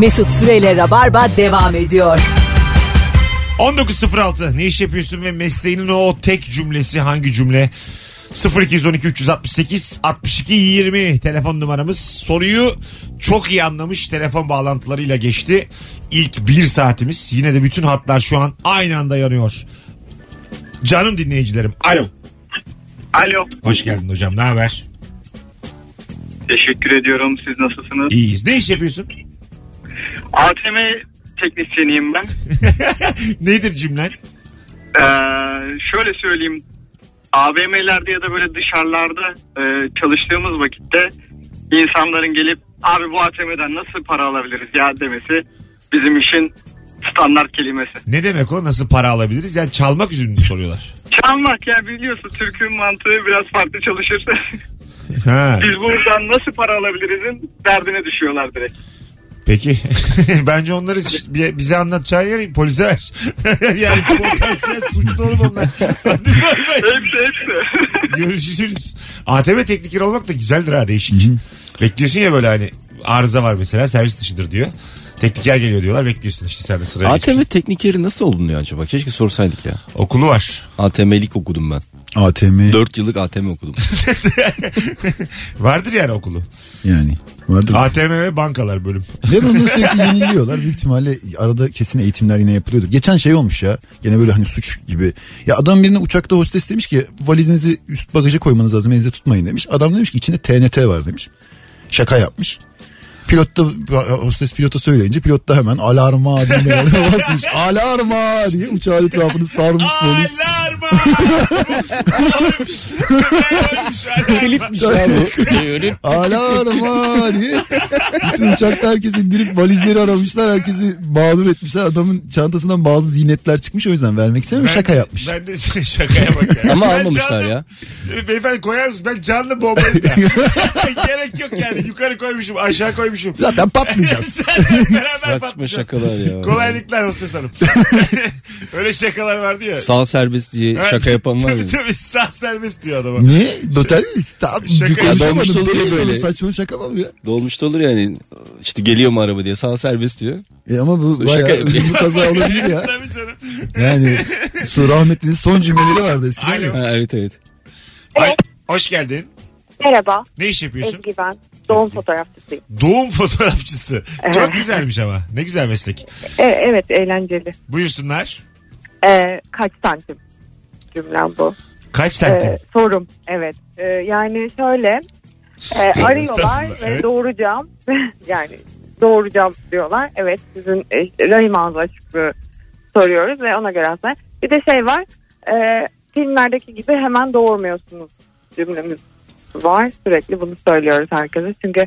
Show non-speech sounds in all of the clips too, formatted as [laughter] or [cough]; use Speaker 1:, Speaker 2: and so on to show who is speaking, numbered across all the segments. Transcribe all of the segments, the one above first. Speaker 1: Mesut Süreyle Rabarba devam ediyor.
Speaker 2: 1906 ne iş yapıyorsun ve mesleğinin o tek cümlesi hangi cümle? 0212 368 62 20 telefon numaramız. Soruyu çok iyi anlamış telefon bağlantılarıyla geçti. İlk bir saatimiz yine de bütün hatlar şu an aynı anda yanıyor. Canım dinleyicilerim. Alo.
Speaker 3: Alo.
Speaker 2: Hoş geldin hocam ne haber?
Speaker 3: Teşekkür ediyorum. Siz nasılsınız?
Speaker 2: İyiyiz. Ne iş yapıyorsun? [laughs]
Speaker 3: ATM teknisyeniyim ben.
Speaker 2: Nedir cümlen?
Speaker 3: Ee, şöyle söyleyeyim. AVM'lerde ya da böyle dışarılarda e, çalıştığımız vakitte insanların gelip abi bu ATM'den nasıl para alabiliriz ya demesi bizim işin standart kelimesi.
Speaker 2: Ne demek o? Nasıl para alabiliriz? Yani çalmak üzerine mi soruyorlar.
Speaker 3: Çalmak ya biliyorsun Türk'ün mantığı biraz farklı çalışır. [laughs]
Speaker 2: Ha.
Speaker 3: Biz buradan nasıl para alabilirizin derdine düşüyorlar direkt.
Speaker 2: Peki. [laughs] Bence onları ş- bi- bize anlatacağın yeri polise ver. [laughs] yani potansiyel suçlu olur onlar. [laughs] Hadi bay bay.
Speaker 3: Hepsi hepsi.
Speaker 2: Görüşürüz. ATM tekniker olmak da güzeldir ha değişik. Bekliyorsun ya böyle hani arıza var mesela servis dışıdır diyor. Tekniker geliyor diyorlar bekliyorsun işte sen de sıraya
Speaker 4: ATM
Speaker 2: geçiyorsun.
Speaker 4: teknikeri nasıl olunuyor acaba? Keşke sorsaydık ya.
Speaker 2: Okulu var.
Speaker 4: ATM'lik okudum ben.
Speaker 5: ATM
Speaker 4: 4 yıllık ATM
Speaker 2: [laughs]
Speaker 4: okudum.
Speaker 2: Vardır yani okulu.
Speaker 5: yani vardır.
Speaker 2: ATM ve bankalar bölüm.
Speaker 5: Ve bunu sürekli yeniliyorlar. Büyük ihtimalle arada kesin eğitimler yine yapılıyordur. Geçen şey olmuş ya. Gene böyle hani suç gibi. Ya adam birine uçakta hostes demiş ki valizinizi üst bagaja koymanız lazım. Elinizde tutmayın demiş. Adam demiş ki içinde TNT var demiş. Şaka yapmış. Pilot da hostes pilota söyleyince pilot da hemen alarma diye meğerine basmış. Alarma diye uçağın etrafını sarmış
Speaker 2: [laughs]
Speaker 5: polis.
Speaker 2: Alarma! Ölmüş. Ölmüş. Alarma!
Speaker 4: Şey,
Speaker 5: Alarma diye [laughs] bütün uçakta herkesi indirip valizleri aramışlar. Herkesi mağdur etmişler. Adamın çantasından bazı ziynetler çıkmış o yüzden vermek istememiş. Şaka yapmış.
Speaker 2: Ben de [laughs] şakaya bak ya.
Speaker 4: Ama
Speaker 2: Ben
Speaker 4: almamışlar
Speaker 2: canlı- E,
Speaker 4: ya.
Speaker 2: Beyefendi koyar mısın? Ben canlı bombayım
Speaker 5: [laughs]
Speaker 2: da. Gerek yok yani. Yukarı koymuşum, aşağı koymuşum.
Speaker 5: Zaten patlayacağız.
Speaker 2: [laughs]
Speaker 5: [laughs]
Speaker 2: Sen beraber
Speaker 4: Saçma
Speaker 2: patlayacağız.
Speaker 4: şakalar ya.
Speaker 2: Kolaylıklar hostes hanım. Öyle şakalar vardı ya.
Speaker 4: Sağ serbest diye
Speaker 2: Evet.
Speaker 4: şaka yapan var ya.
Speaker 2: Tabii tabii sağ serbest diyor adama.
Speaker 5: ne? Noter mi? Tamam,
Speaker 2: Şaka
Speaker 5: konuşamadım.
Speaker 4: yapmış oluyor
Speaker 5: Değil mi?
Speaker 4: böyle.
Speaker 5: Saçma şaka mı ya?
Speaker 4: Dolmuşta olur yani. İşte geliyor mu araba diye sağ serbest diyor.
Speaker 5: E ama bu
Speaker 4: Şaka
Speaker 5: bayağı
Speaker 4: yapıyor.
Speaker 5: bu kaza olabilir
Speaker 2: [laughs]
Speaker 5: ya.
Speaker 2: Tabii canım.
Speaker 5: Yani su rahmetlinin son cümleleri vardı eskiden.
Speaker 2: Alo.
Speaker 4: Ha, evet evet.
Speaker 2: Ay- hoş geldin.
Speaker 6: Merhaba
Speaker 2: Ne iş yapıyorsun?
Speaker 6: Ezgi ben. Doğum
Speaker 2: Ezgi.
Speaker 6: fotoğrafçısıyım.
Speaker 2: Doğum fotoğrafçısı. Çok
Speaker 6: Evet.
Speaker 2: güzelmiş ama. Ne güzel meslek.
Speaker 6: E, evet eğlenceli.
Speaker 2: Buyursunlar.
Speaker 6: E, kaç santim cümlem bu.
Speaker 2: Kaç
Speaker 6: E,
Speaker 2: santim?
Speaker 6: sorum evet. E, yani şöyle e, arıyorlar
Speaker 2: [laughs] Estağfurullah,
Speaker 6: ve
Speaker 2: evet.
Speaker 6: doğuracağım. [laughs] yani doğuracağım diyorlar. Evet sizin e, rahim ağzı açıklığı soruyoruz ve ona göre aslında. Bir de şey var. E, filmlerdeki gibi hemen doğurmuyorsunuz cümlemiz var. Sürekli bunu söylüyoruz herkese. Çünkü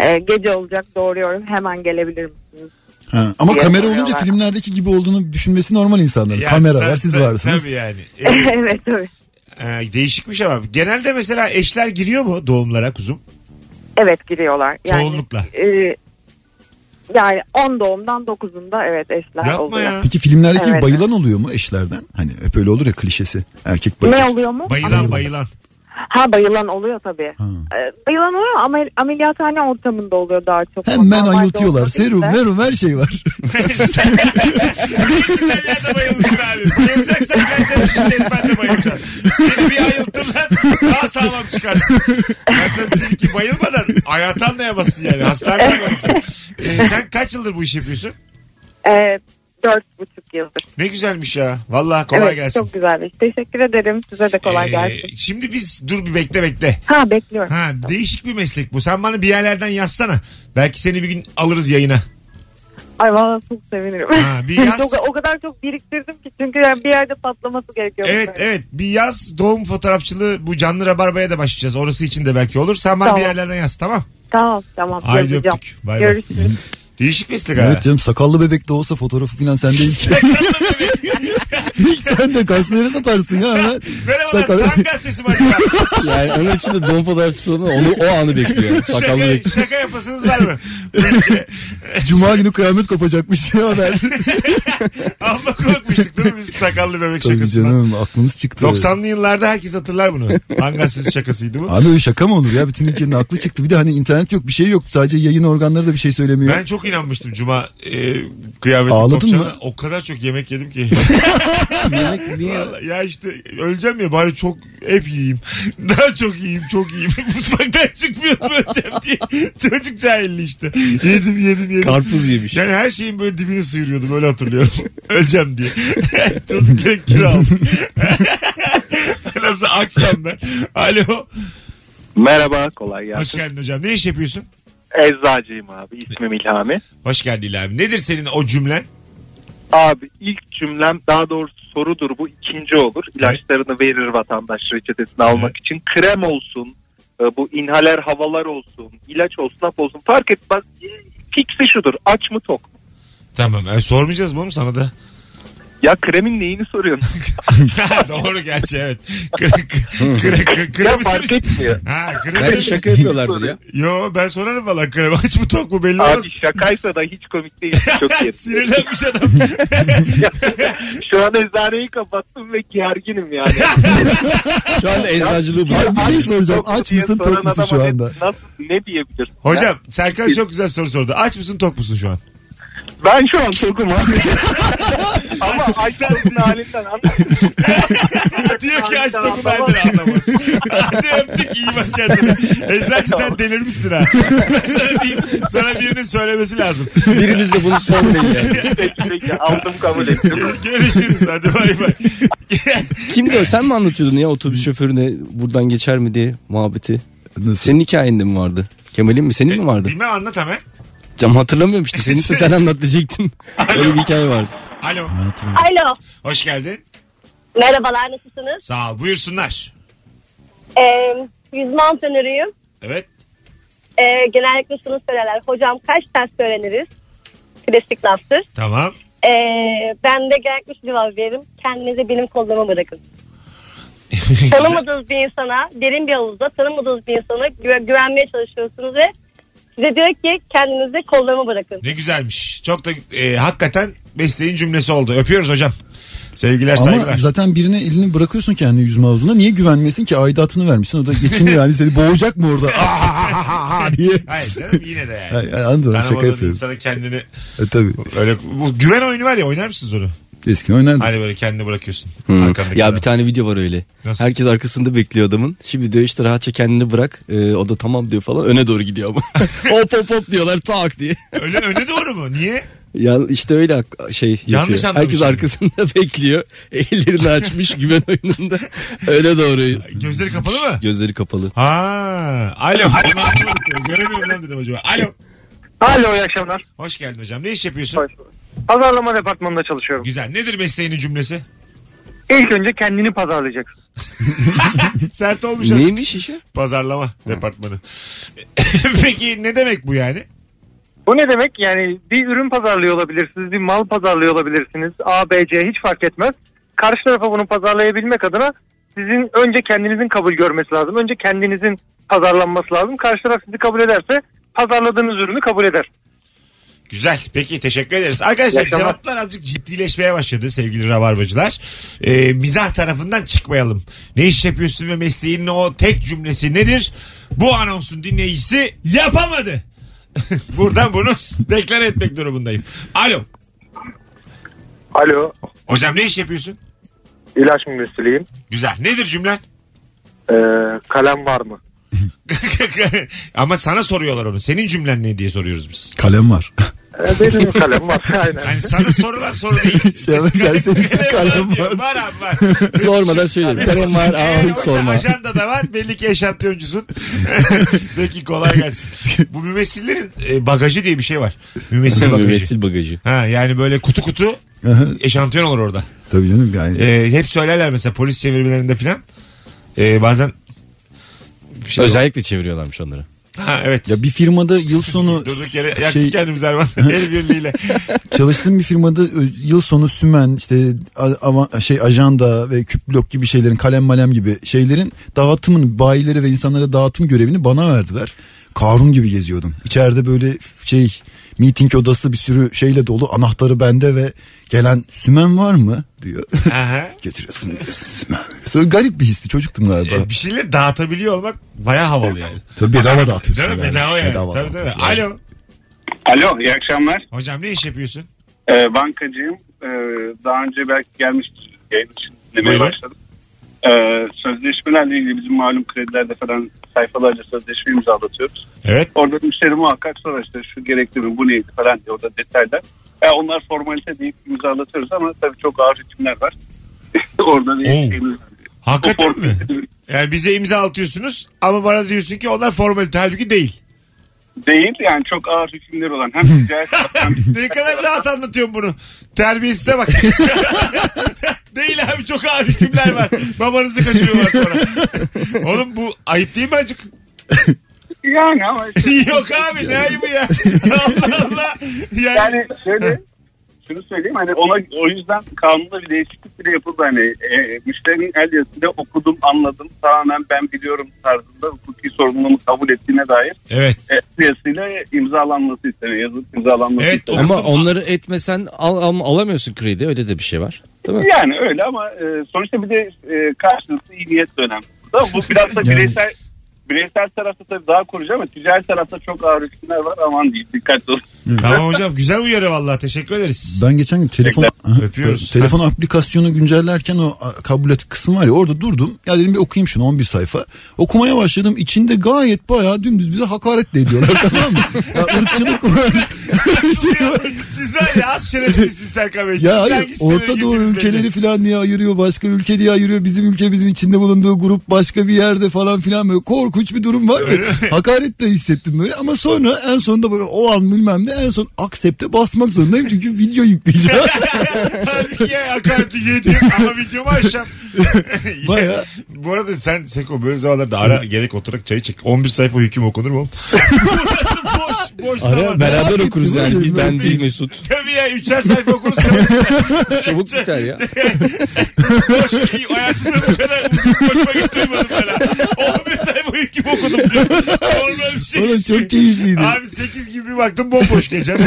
Speaker 6: e, gece olacak doğuruyorum hemen gelebilir misiniz?
Speaker 5: Ha, Ama
Speaker 6: Diye
Speaker 5: kamera
Speaker 6: soruyorlar.
Speaker 5: olunca filmlerdeki gibi olduğunu düşünmesi normal insanların.
Speaker 2: Ya,
Speaker 5: kamera var
Speaker 2: tabii,
Speaker 5: siz
Speaker 2: tabii,
Speaker 5: varsınız.
Speaker 2: Tabii yani. Ee,
Speaker 6: [laughs] evet tabii.
Speaker 2: Ee, değişikmiş ama genelde mesela eşler giriyor mu doğumlara kuzum?
Speaker 6: Evet giriyorlar. Yani,
Speaker 2: Çoğunlukla.
Speaker 6: e, yani 10 doğumdan 9'unda evet eşler
Speaker 2: Yapma
Speaker 6: oluyor.
Speaker 2: ya.
Speaker 5: Peki filmlerdeki gibi
Speaker 6: Evet.
Speaker 5: bayılan oluyor mu eşlerden? Hani hep öyle olur ya klişesi. Erkek bayılır.
Speaker 6: Ne oluyor mu?
Speaker 2: Bayılan bayılan.
Speaker 6: Ha bayılan oluyor tabii. E, bayılan oluyor ama amel- ameliyathane ortamında oluyor daha çok.
Speaker 5: Hemen
Speaker 6: Normalde
Speaker 5: ayıltıyorlar.
Speaker 6: olsa
Speaker 5: Serum,
Speaker 6: işte.
Speaker 5: merum her şey var.
Speaker 2: Nerede bayılmışsın abi? Bayılacaksan gerçekten şişletmen de bayılacaksın. Seni bir ayıltırlar daha sağlam çıkarsın. Zaten bizimki bayılmadan hayata anlayamazsın yani. Hasta anlayamazsın. Ee, sen kaç yıldır bu iş yapıyorsun?
Speaker 6: E, Dört buçuk yıldır.
Speaker 2: Ne güzelmiş ya. Vallahi kolay
Speaker 6: evet,
Speaker 2: gelsin.
Speaker 6: Çok güzelmiş. Teşekkür ederim. Size de kolay
Speaker 2: Ee,
Speaker 6: gelsin.
Speaker 2: Şimdi biz dur bir bekle bekle.
Speaker 6: Ha bekliyorum.
Speaker 2: Ha değişik bir meslek bu. Sen bana bir yerlerden yazsana. Belki seni bir gün alırız yayına.
Speaker 6: Ay valla çok sevinirim. [laughs]
Speaker 2: Ha, bir yaz.
Speaker 6: Çok- o kadar çok biriktirdim ki çünkü yani bir yerde patlaması gerekiyor.
Speaker 2: Evet evet bir yaz doğum fotoğrafçılığı bu canlı rabarbaya da başlayacağız. Orası için de belki olur. Sen bana
Speaker 6: Tamam.
Speaker 2: bir yerlerden yaz tamam.
Speaker 6: Tamam tamam.
Speaker 2: Haydi
Speaker 6: yazacağım.
Speaker 2: öptük. Bay bay.
Speaker 6: Görüşürüz.
Speaker 2: Değişik meslek ha.
Speaker 5: evet canım sakallı bebek de olsa fotoğrafı falan sendeyim. İlk sen de kasları satarsın ya. Ama
Speaker 2: Ver ama
Speaker 5: sakalı-
Speaker 2: tam gazetesi var
Speaker 5: [laughs]
Speaker 2: ya.
Speaker 4: Yani onun içinde don fotoğraf tutulma onu o anı bekliyor. Sakallı
Speaker 2: şaka,
Speaker 4: bekliyor.
Speaker 2: şaka yapasınız var mı?
Speaker 5: Cuma günü kıyamet kopacakmış ya haber.
Speaker 2: Ama korkmuştuk değil mi biz sakallı bebek
Speaker 5: Tabii
Speaker 2: şakasından?
Speaker 5: canım aklımız çıktı.
Speaker 2: 90'lı yıllarda herkes hatırlar bunu. Hangasız şakasıydı bu.
Speaker 5: Abi öyle şaka mı olur ya? Bütün ülkenin aklı çıktı. Bir de hani internet yok bir şey yok. Sadece yayın organları da bir şey söylemiyor.
Speaker 2: Ben çok inanmıştım cuma e, kıyameti
Speaker 5: Ağladın
Speaker 2: kopacağına.
Speaker 5: mı?
Speaker 2: O kadar çok yemek yedim ki.
Speaker 4: Yemek niye?
Speaker 2: Vallahi ya işte öleceğim ya bari çok hep yiyeyim. [laughs] Daha çok yiyeyim çok yiyeyim. [laughs] Mutfaktan çıkmıyorum öleceğim diye. [laughs] Çocuk cahilli işte. Yedim yedim yedim.
Speaker 4: Karpuz yemiş.
Speaker 2: Yani her şeyin böyle dibini sıyırıyordum öyle hatırlıyorum. [laughs] Öleceğim diye. Durduk yere kira aldım. [laughs] Nasıl aksam ben. Alo.
Speaker 7: Merhaba kolay
Speaker 2: Hoş
Speaker 7: gelsin.
Speaker 2: geldin hocam. Ne iş yapıyorsun?
Speaker 7: Eczacıyım abi ismim İlhami.
Speaker 2: Hoş geldin abi. Nedir senin o cümlen?
Speaker 7: Abi ilk cümlem daha doğrusu sorudur bu ikinci olur. İlaçlarını verir vatandaş reçetesini almak için. Krem olsun, e, bu inhaler havalar olsun, ilaç olsun, hap olsun fark et bak e, fiksi şudur aç mı tok mu?
Speaker 2: Tamam. e, sormayacağız mı oğlum sana da? [laughs]
Speaker 7: Ya kremin neyini
Speaker 5: [laughs]
Speaker 7: soruyorsun?
Speaker 2: Doğru gerçi evet. Kırık. Kırık.
Speaker 7: ya
Speaker 2: Kırık.
Speaker 7: fark etmiyor.
Speaker 2: Ha
Speaker 4: Belki
Speaker 2: kırık.
Speaker 4: şaka yapıyorlardır ya.
Speaker 2: Yo ben sorarım valla krem aç mı tok mu belli olmaz.
Speaker 7: Abi şakaysa da hiç komik değil.
Speaker 2: [laughs]
Speaker 5: [laughs]
Speaker 7: Çok iyi.
Speaker 2: Sinirlenmiş
Speaker 7: [laughs]
Speaker 2: adam.
Speaker 7: Şu an eczaneyi kapattım ve gerginim yani.
Speaker 4: Şu anda eczacılığı
Speaker 5: Abi
Speaker 4: bırak.
Speaker 5: [laughs] bir şey
Speaker 7: Aç mı,
Speaker 5: soracağım.
Speaker 7: tok mu
Speaker 5: Aç
Speaker 7: diye
Speaker 5: mısın
Speaker 7: soran
Speaker 5: tok musun
Speaker 7: adama
Speaker 5: şu
Speaker 7: ne-
Speaker 5: anda?
Speaker 7: Nasıl, ne diyebilirsin? ya?
Speaker 2: Hocam Serkan çok güzel soru sordu. Aç mısın tok musun
Speaker 7: [laughs]
Speaker 2: şu an?
Speaker 7: Ben şu an tokum abi. [laughs] Ama Aysel'in halinden anlamadım.
Speaker 2: Diyor ki aç tokum
Speaker 7: Tamam,
Speaker 2: ben de anlamaz. [laughs] Hadi öptük iyi bak kendine.
Speaker 7: [laughs]
Speaker 2: Eczacı sen delirmişsin ha. [laughs] Ben sana, diyeyim, sana birinin söylemesi lazım. [laughs]
Speaker 4: Biriniz de bunu sormayın ya.
Speaker 7: Peki, peki, Aldım kabul ettim.
Speaker 2: Görüşürüz hadi bay bay.
Speaker 4: Kim diyor sen mi anlatıyordun ya otobüs şoförüne buradan geçer mi diye muhabbeti. Senin hikayende mi vardı? Kemal'in mi senin mi vardı?
Speaker 2: Bilmem anlat hemen.
Speaker 4: Cam hatırlamıyorum işte. Senin
Speaker 2: [laughs]
Speaker 4: ise sen anlat diyecektim. Öyle bir hikaye vardı.
Speaker 2: Alo.
Speaker 8: Alo.
Speaker 2: Hoş geldin.
Speaker 8: Merhabalar nasılsınız?
Speaker 2: Sağ ol. Buyursunlar.
Speaker 8: Ee, yüzme antrenörüyüm.
Speaker 2: Evet.
Speaker 8: Ee, genellikle şunu söylerler. Hocam kaç ters öğreniriz? Klasik laftır.
Speaker 2: Tamam.
Speaker 8: Ee, ben de genellikle şu cevabı veririm. Kendinize benim kollama bırakın. Tanımadığınız bir insana derin bir havuzda tanımadığınız bir insana güve- güvenmeye çalışıyorsunuz ve size diyor ki kendinize kollama bırakın.
Speaker 2: Ne güzelmiş. Çok da e, hakikaten besleyin cümlesi oldu. Öpüyoruz hocam. Sevgiler
Speaker 5: Ama
Speaker 2: saygılar.
Speaker 5: zaten birine elini bırakıyorsun kendi yüzme havuzuna. Niye güvenmesin ki? Aidatını vermişsin. O da geçiniyor yani. Seni boğacak mı orada? Ah, diye.
Speaker 2: Hayır canım yine de yani.
Speaker 5: Ay, ay, anladım, şaka
Speaker 2: Tanımadığın
Speaker 5: yapıyorum.
Speaker 2: insana kendini
Speaker 5: E, tabii.
Speaker 2: öyle bu güven oyunu var ya oynar mısınız onu?
Speaker 5: Eskiden oynardım.
Speaker 2: Hani böyle kendini bırakıyorsun.
Speaker 4: Hmm.
Speaker 2: Arkandaki
Speaker 4: Ya
Speaker 2: adam.
Speaker 4: bir tane video var öyle.
Speaker 2: Nasıl?
Speaker 4: Herkes arkasında bekliyor adamın. Şimdi diyor işte rahatça kendini bırak. Ee, o da tamam diyor falan. Öne doğru gidiyor ama.
Speaker 2: [laughs]
Speaker 4: hop hop hop diyorlar tak diye.
Speaker 2: Öyle öne doğru mu? Niye?
Speaker 4: Ya işte öyle ak- şey yapıyor.
Speaker 2: Yanlış anlamış
Speaker 4: Herkes
Speaker 2: şimdi.
Speaker 4: arkasında [laughs] bekliyor. Ellerini açmış güven oyununda. Öyle doğru.
Speaker 2: Gözleri kapalı mı?
Speaker 4: Gözleri kapalı.
Speaker 2: Ha. Alo. Bunu anlamadım. Göremiyorum lan dedim acaba. Alo.
Speaker 7: Alo iyi akşamlar.
Speaker 2: Hoş geldin hocam. Ne iş yapıyorsun?
Speaker 7: Pazarlama departmanında çalışıyorum.
Speaker 2: Güzel. Nedir mesleğinin
Speaker 5: [laughs]
Speaker 2: cümlesi?
Speaker 7: İlk önce kendini pazarlayacaksın.
Speaker 2: Sert olmuş. adam.
Speaker 4: Neymiş işi?
Speaker 2: Pazarlama departmanı. [laughs] Peki ne demek bu yani?
Speaker 7: Bu ne demek? Yani bir ürün pazarlıyor olabilirsiniz, bir mal pazarlıyor olabilirsiniz. A, B, C hiç fark etmez. Karşı tarafa bunu pazarlayabilmek adına sizin önce kendinizin kabul görmesi lazım. Önce kendinizin pazarlanması lazım. Karşı taraf sizi kabul ederse pazarladığınız ürünü kabul eder.
Speaker 2: Güzel. Peki teşekkür ederiz. Arkadaşlar
Speaker 7: İyi akşamlar.
Speaker 2: cevaplar azıcık ciddileşmeye başladı sevgili rabarbacılar. Ee, mizah tarafından çıkmayalım. Ne iş yapıyorsun ve mesleğinin o tek cümlesi nedir? Bu anonsun dinleyicisi yapamadı. [laughs] Buradan bunu [laughs] deklar etmek durumundayım. Alo.
Speaker 7: Alo,
Speaker 2: Hocam ne iş yapıyorsun?
Speaker 7: ilaç mümessiliyim.
Speaker 2: Güzel. Nedir cümlen? [laughs]
Speaker 7: kalem var mı?
Speaker 2: Ama sana soruyorlar onu. Senin cümlen ne diye soruyoruz biz. [laughs]
Speaker 5: Kalem var. [laughs]
Speaker 7: Ee, benim kalem var, [laughs] aynen.
Speaker 2: Hani sana sorulan soru
Speaker 7: [laughs]
Speaker 2: değil.
Speaker 5: Şey ama
Speaker 2: [laughs]
Speaker 5: sen- senin için kalem var.
Speaker 2: Var abi var.
Speaker 5: [laughs]
Speaker 4: Sormadan söylüyorum. Kalem var aa
Speaker 2: Eğer
Speaker 4: hiç
Speaker 2: orada
Speaker 4: sorma.
Speaker 2: Ajanda da var. Belli ki eşantiyoncusun.
Speaker 5: [laughs]
Speaker 2: Peki kolay gelsin. Bu mümessillerin e, bagajı diye bir şey var. Mümessil bagajı.
Speaker 4: Müvessil bagajı.
Speaker 2: Ha, yani böyle kutu kutu
Speaker 5: Aha,
Speaker 2: eşantiyon olur orada.
Speaker 5: Tabii canım. Yani.
Speaker 2: E, hep söylerler mesela polis çevirmelerinde filan. E, bazen bir şey
Speaker 4: Özellikle çeviriyorlarmış onları.
Speaker 2: Ha, evet.
Speaker 5: Ya bir
Speaker 2: [laughs]
Speaker 5: firmada yıl sonu
Speaker 2: Durduk yere yaktık [laughs]
Speaker 5: şey,
Speaker 2: kendimizi Erman. El birliğiyle.
Speaker 5: çalıştığım bir firmada ö, yıl sonu sümen işte a- ama şey ajanda ve küp blok gibi şeylerin kalem malem gibi şeylerin dağıtımın bayilere ve insanlara dağıtım görevini bana verdiler. Karun gibi geziyordum. İçeride böyle şey meeting odası bir sürü şeyle dolu anahtarı bende ve gelen sümen var mı diyor. [laughs]
Speaker 2: Aha.
Speaker 5: Getiriyorsun diyorsun sümen. veriyorsun. Sonra garip bir histi çocuktum galiba.
Speaker 2: E, bir şeyleri dağıtabiliyor olmak baya havalı yani.
Speaker 5: Tabii bedava dağıtıyorsun.
Speaker 2: Değil mi?
Speaker 5: yani.
Speaker 2: Bedava yani.
Speaker 5: Bedava
Speaker 2: Tabii, tabii.
Speaker 5: dağıtıyorsun.
Speaker 2: Alo.
Speaker 3: Alo iyi akşamlar.
Speaker 2: Hocam ne iş yapıyorsun?
Speaker 3: Ee, bankacıyım. Ee, daha önce belki gelmiştir yayın için dinlemeye
Speaker 2: Buyurun.
Speaker 3: başladım. Ee, sözleşmelerle ilgili bizim malum kredilerde falan sayfalarca sözleşme imzalatıyoruz.
Speaker 2: Evet.
Speaker 3: Orada müşteri muhakkak sorar işte şu gerekli mi bu neydi falan diye orada detaylar. Ya onlar formalite deyip imzalatıyoruz ama tabii çok ağır hükümler var. [laughs] orada bir
Speaker 2: Oo.
Speaker 3: şeyimiz var. O
Speaker 2: Hakikaten mi?
Speaker 3: formalite
Speaker 2: Yani bize imza atıyorsunuz ama bana diyorsun ki onlar formalite halbuki değil.
Speaker 3: Değil yani çok ağır hükümler olan hem ticaret
Speaker 2: [laughs]
Speaker 3: hem
Speaker 2: ne kadar rahat anlatıyorum bunu. Terbiyesize bak. [laughs] değil abi çok ağır hükümler var. Babanızı kaçırıyorlar sonra. [laughs] Oğlum bu ayıp değil mi acık? [laughs]
Speaker 3: yani ama işte-
Speaker 2: Yok abi ne ayıbı ya. [laughs] Allah Allah. Yani,
Speaker 3: yani şöyle şunu söyleyeyim hani ona o yüzden kanunda bir değişiklik bile yapıldı hani e, müşterinin el yazısıyla okudum anladım tamamen ben biliyorum tarzında hukuki sorumluluğumu kabul ettiğine dair
Speaker 2: Evet.
Speaker 3: e, el yazısıyla imzalanması isteniyor yazılıp imzalanması
Speaker 2: Evet,
Speaker 3: isteniyor.
Speaker 2: Ama
Speaker 9: Ama onları etmesen al, al- alamıyorsun kredi. Öyle de bir şey var. Değil mi?
Speaker 3: Yani öyle ama e, sonuçta bir de e, karşılıklı iyi niyet de önemli. Burada. Bu biraz da
Speaker 5: Yani-
Speaker 3: bireysel bireysel tarafta tabii daha korucu ama ticari tarafta çok ağır hükümler var aman diyeyim dikkatli olun.
Speaker 2: Tamam hocam güzel uyarı vallahi teşekkür
Speaker 5: [laughs]
Speaker 2: ederiz.
Speaker 5: Ben geçen gün telefon
Speaker 3: Tekrar
Speaker 5: Aha,
Speaker 2: öpüyoruz.
Speaker 5: telefon aplikasyonu güncellerken o a- kabul et kısmı var ya orada durdum. Ya dedim bir okuyayım şunu 11 sayfa. Okumaya başladım. İçinde gayet bayağı dümdüz bize hakaret de ediyorlar [laughs] tamam mı? Ya ırkçılık var. Bir şey var.
Speaker 2: Siz var ya az şerefsizsiniz Serkan Bey. Siz
Speaker 5: Ya
Speaker 2: hangi
Speaker 5: hayır,
Speaker 2: sitelere
Speaker 5: Orta Doğu
Speaker 2: girdiniz belli.
Speaker 5: ülkeleri falan niye ayırıyor? Başka ülke diye ayırıyor. Bizim ülkemizin içinde bulunduğu grup başka bir yerde falan filan böyle korkunç bir durum var
Speaker 2: Öyle
Speaker 5: mı?
Speaker 2: mi?
Speaker 5: Hakaret de hissettim böyle ama sonra en sonunda böyle o an bilmem ne en son accept'e basmak zorundayım çünkü video yükleyeceğim.
Speaker 2: Halbuki ya hakareti yediğim şey ama videomu açacağım.
Speaker 5: [laughs] Baya.
Speaker 2: [laughs] Bu arada sen Seko böyle zamanlarda ara gerek oturarak çayı çek. 11 sayfa hüküm okunur
Speaker 5: [laughs]
Speaker 2: mu oğlum? boş boş zaman.
Speaker 4: Ara beraber
Speaker 5: Merak
Speaker 4: okuruz
Speaker 5: ettim
Speaker 4: yani.
Speaker 5: öyle
Speaker 4: Bir ben
Speaker 5: mi?
Speaker 4: değil Mesut.
Speaker 2: [laughs] Tabii ya üçer sayfa okursun.
Speaker 4: Çabuk biter ya.
Speaker 2: boş hayatımda bu kadar uzun boş vakit duymadım ben. ha. 11 sayfa hüküm okudum diyor. Normal bir şey.
Speaker 5: Oğlum çok keyifliydi.
Speaker 2: Abi 8 gibi bir baktım bomboş
Speaker 5: [laughs]
Speaker 2: geçen.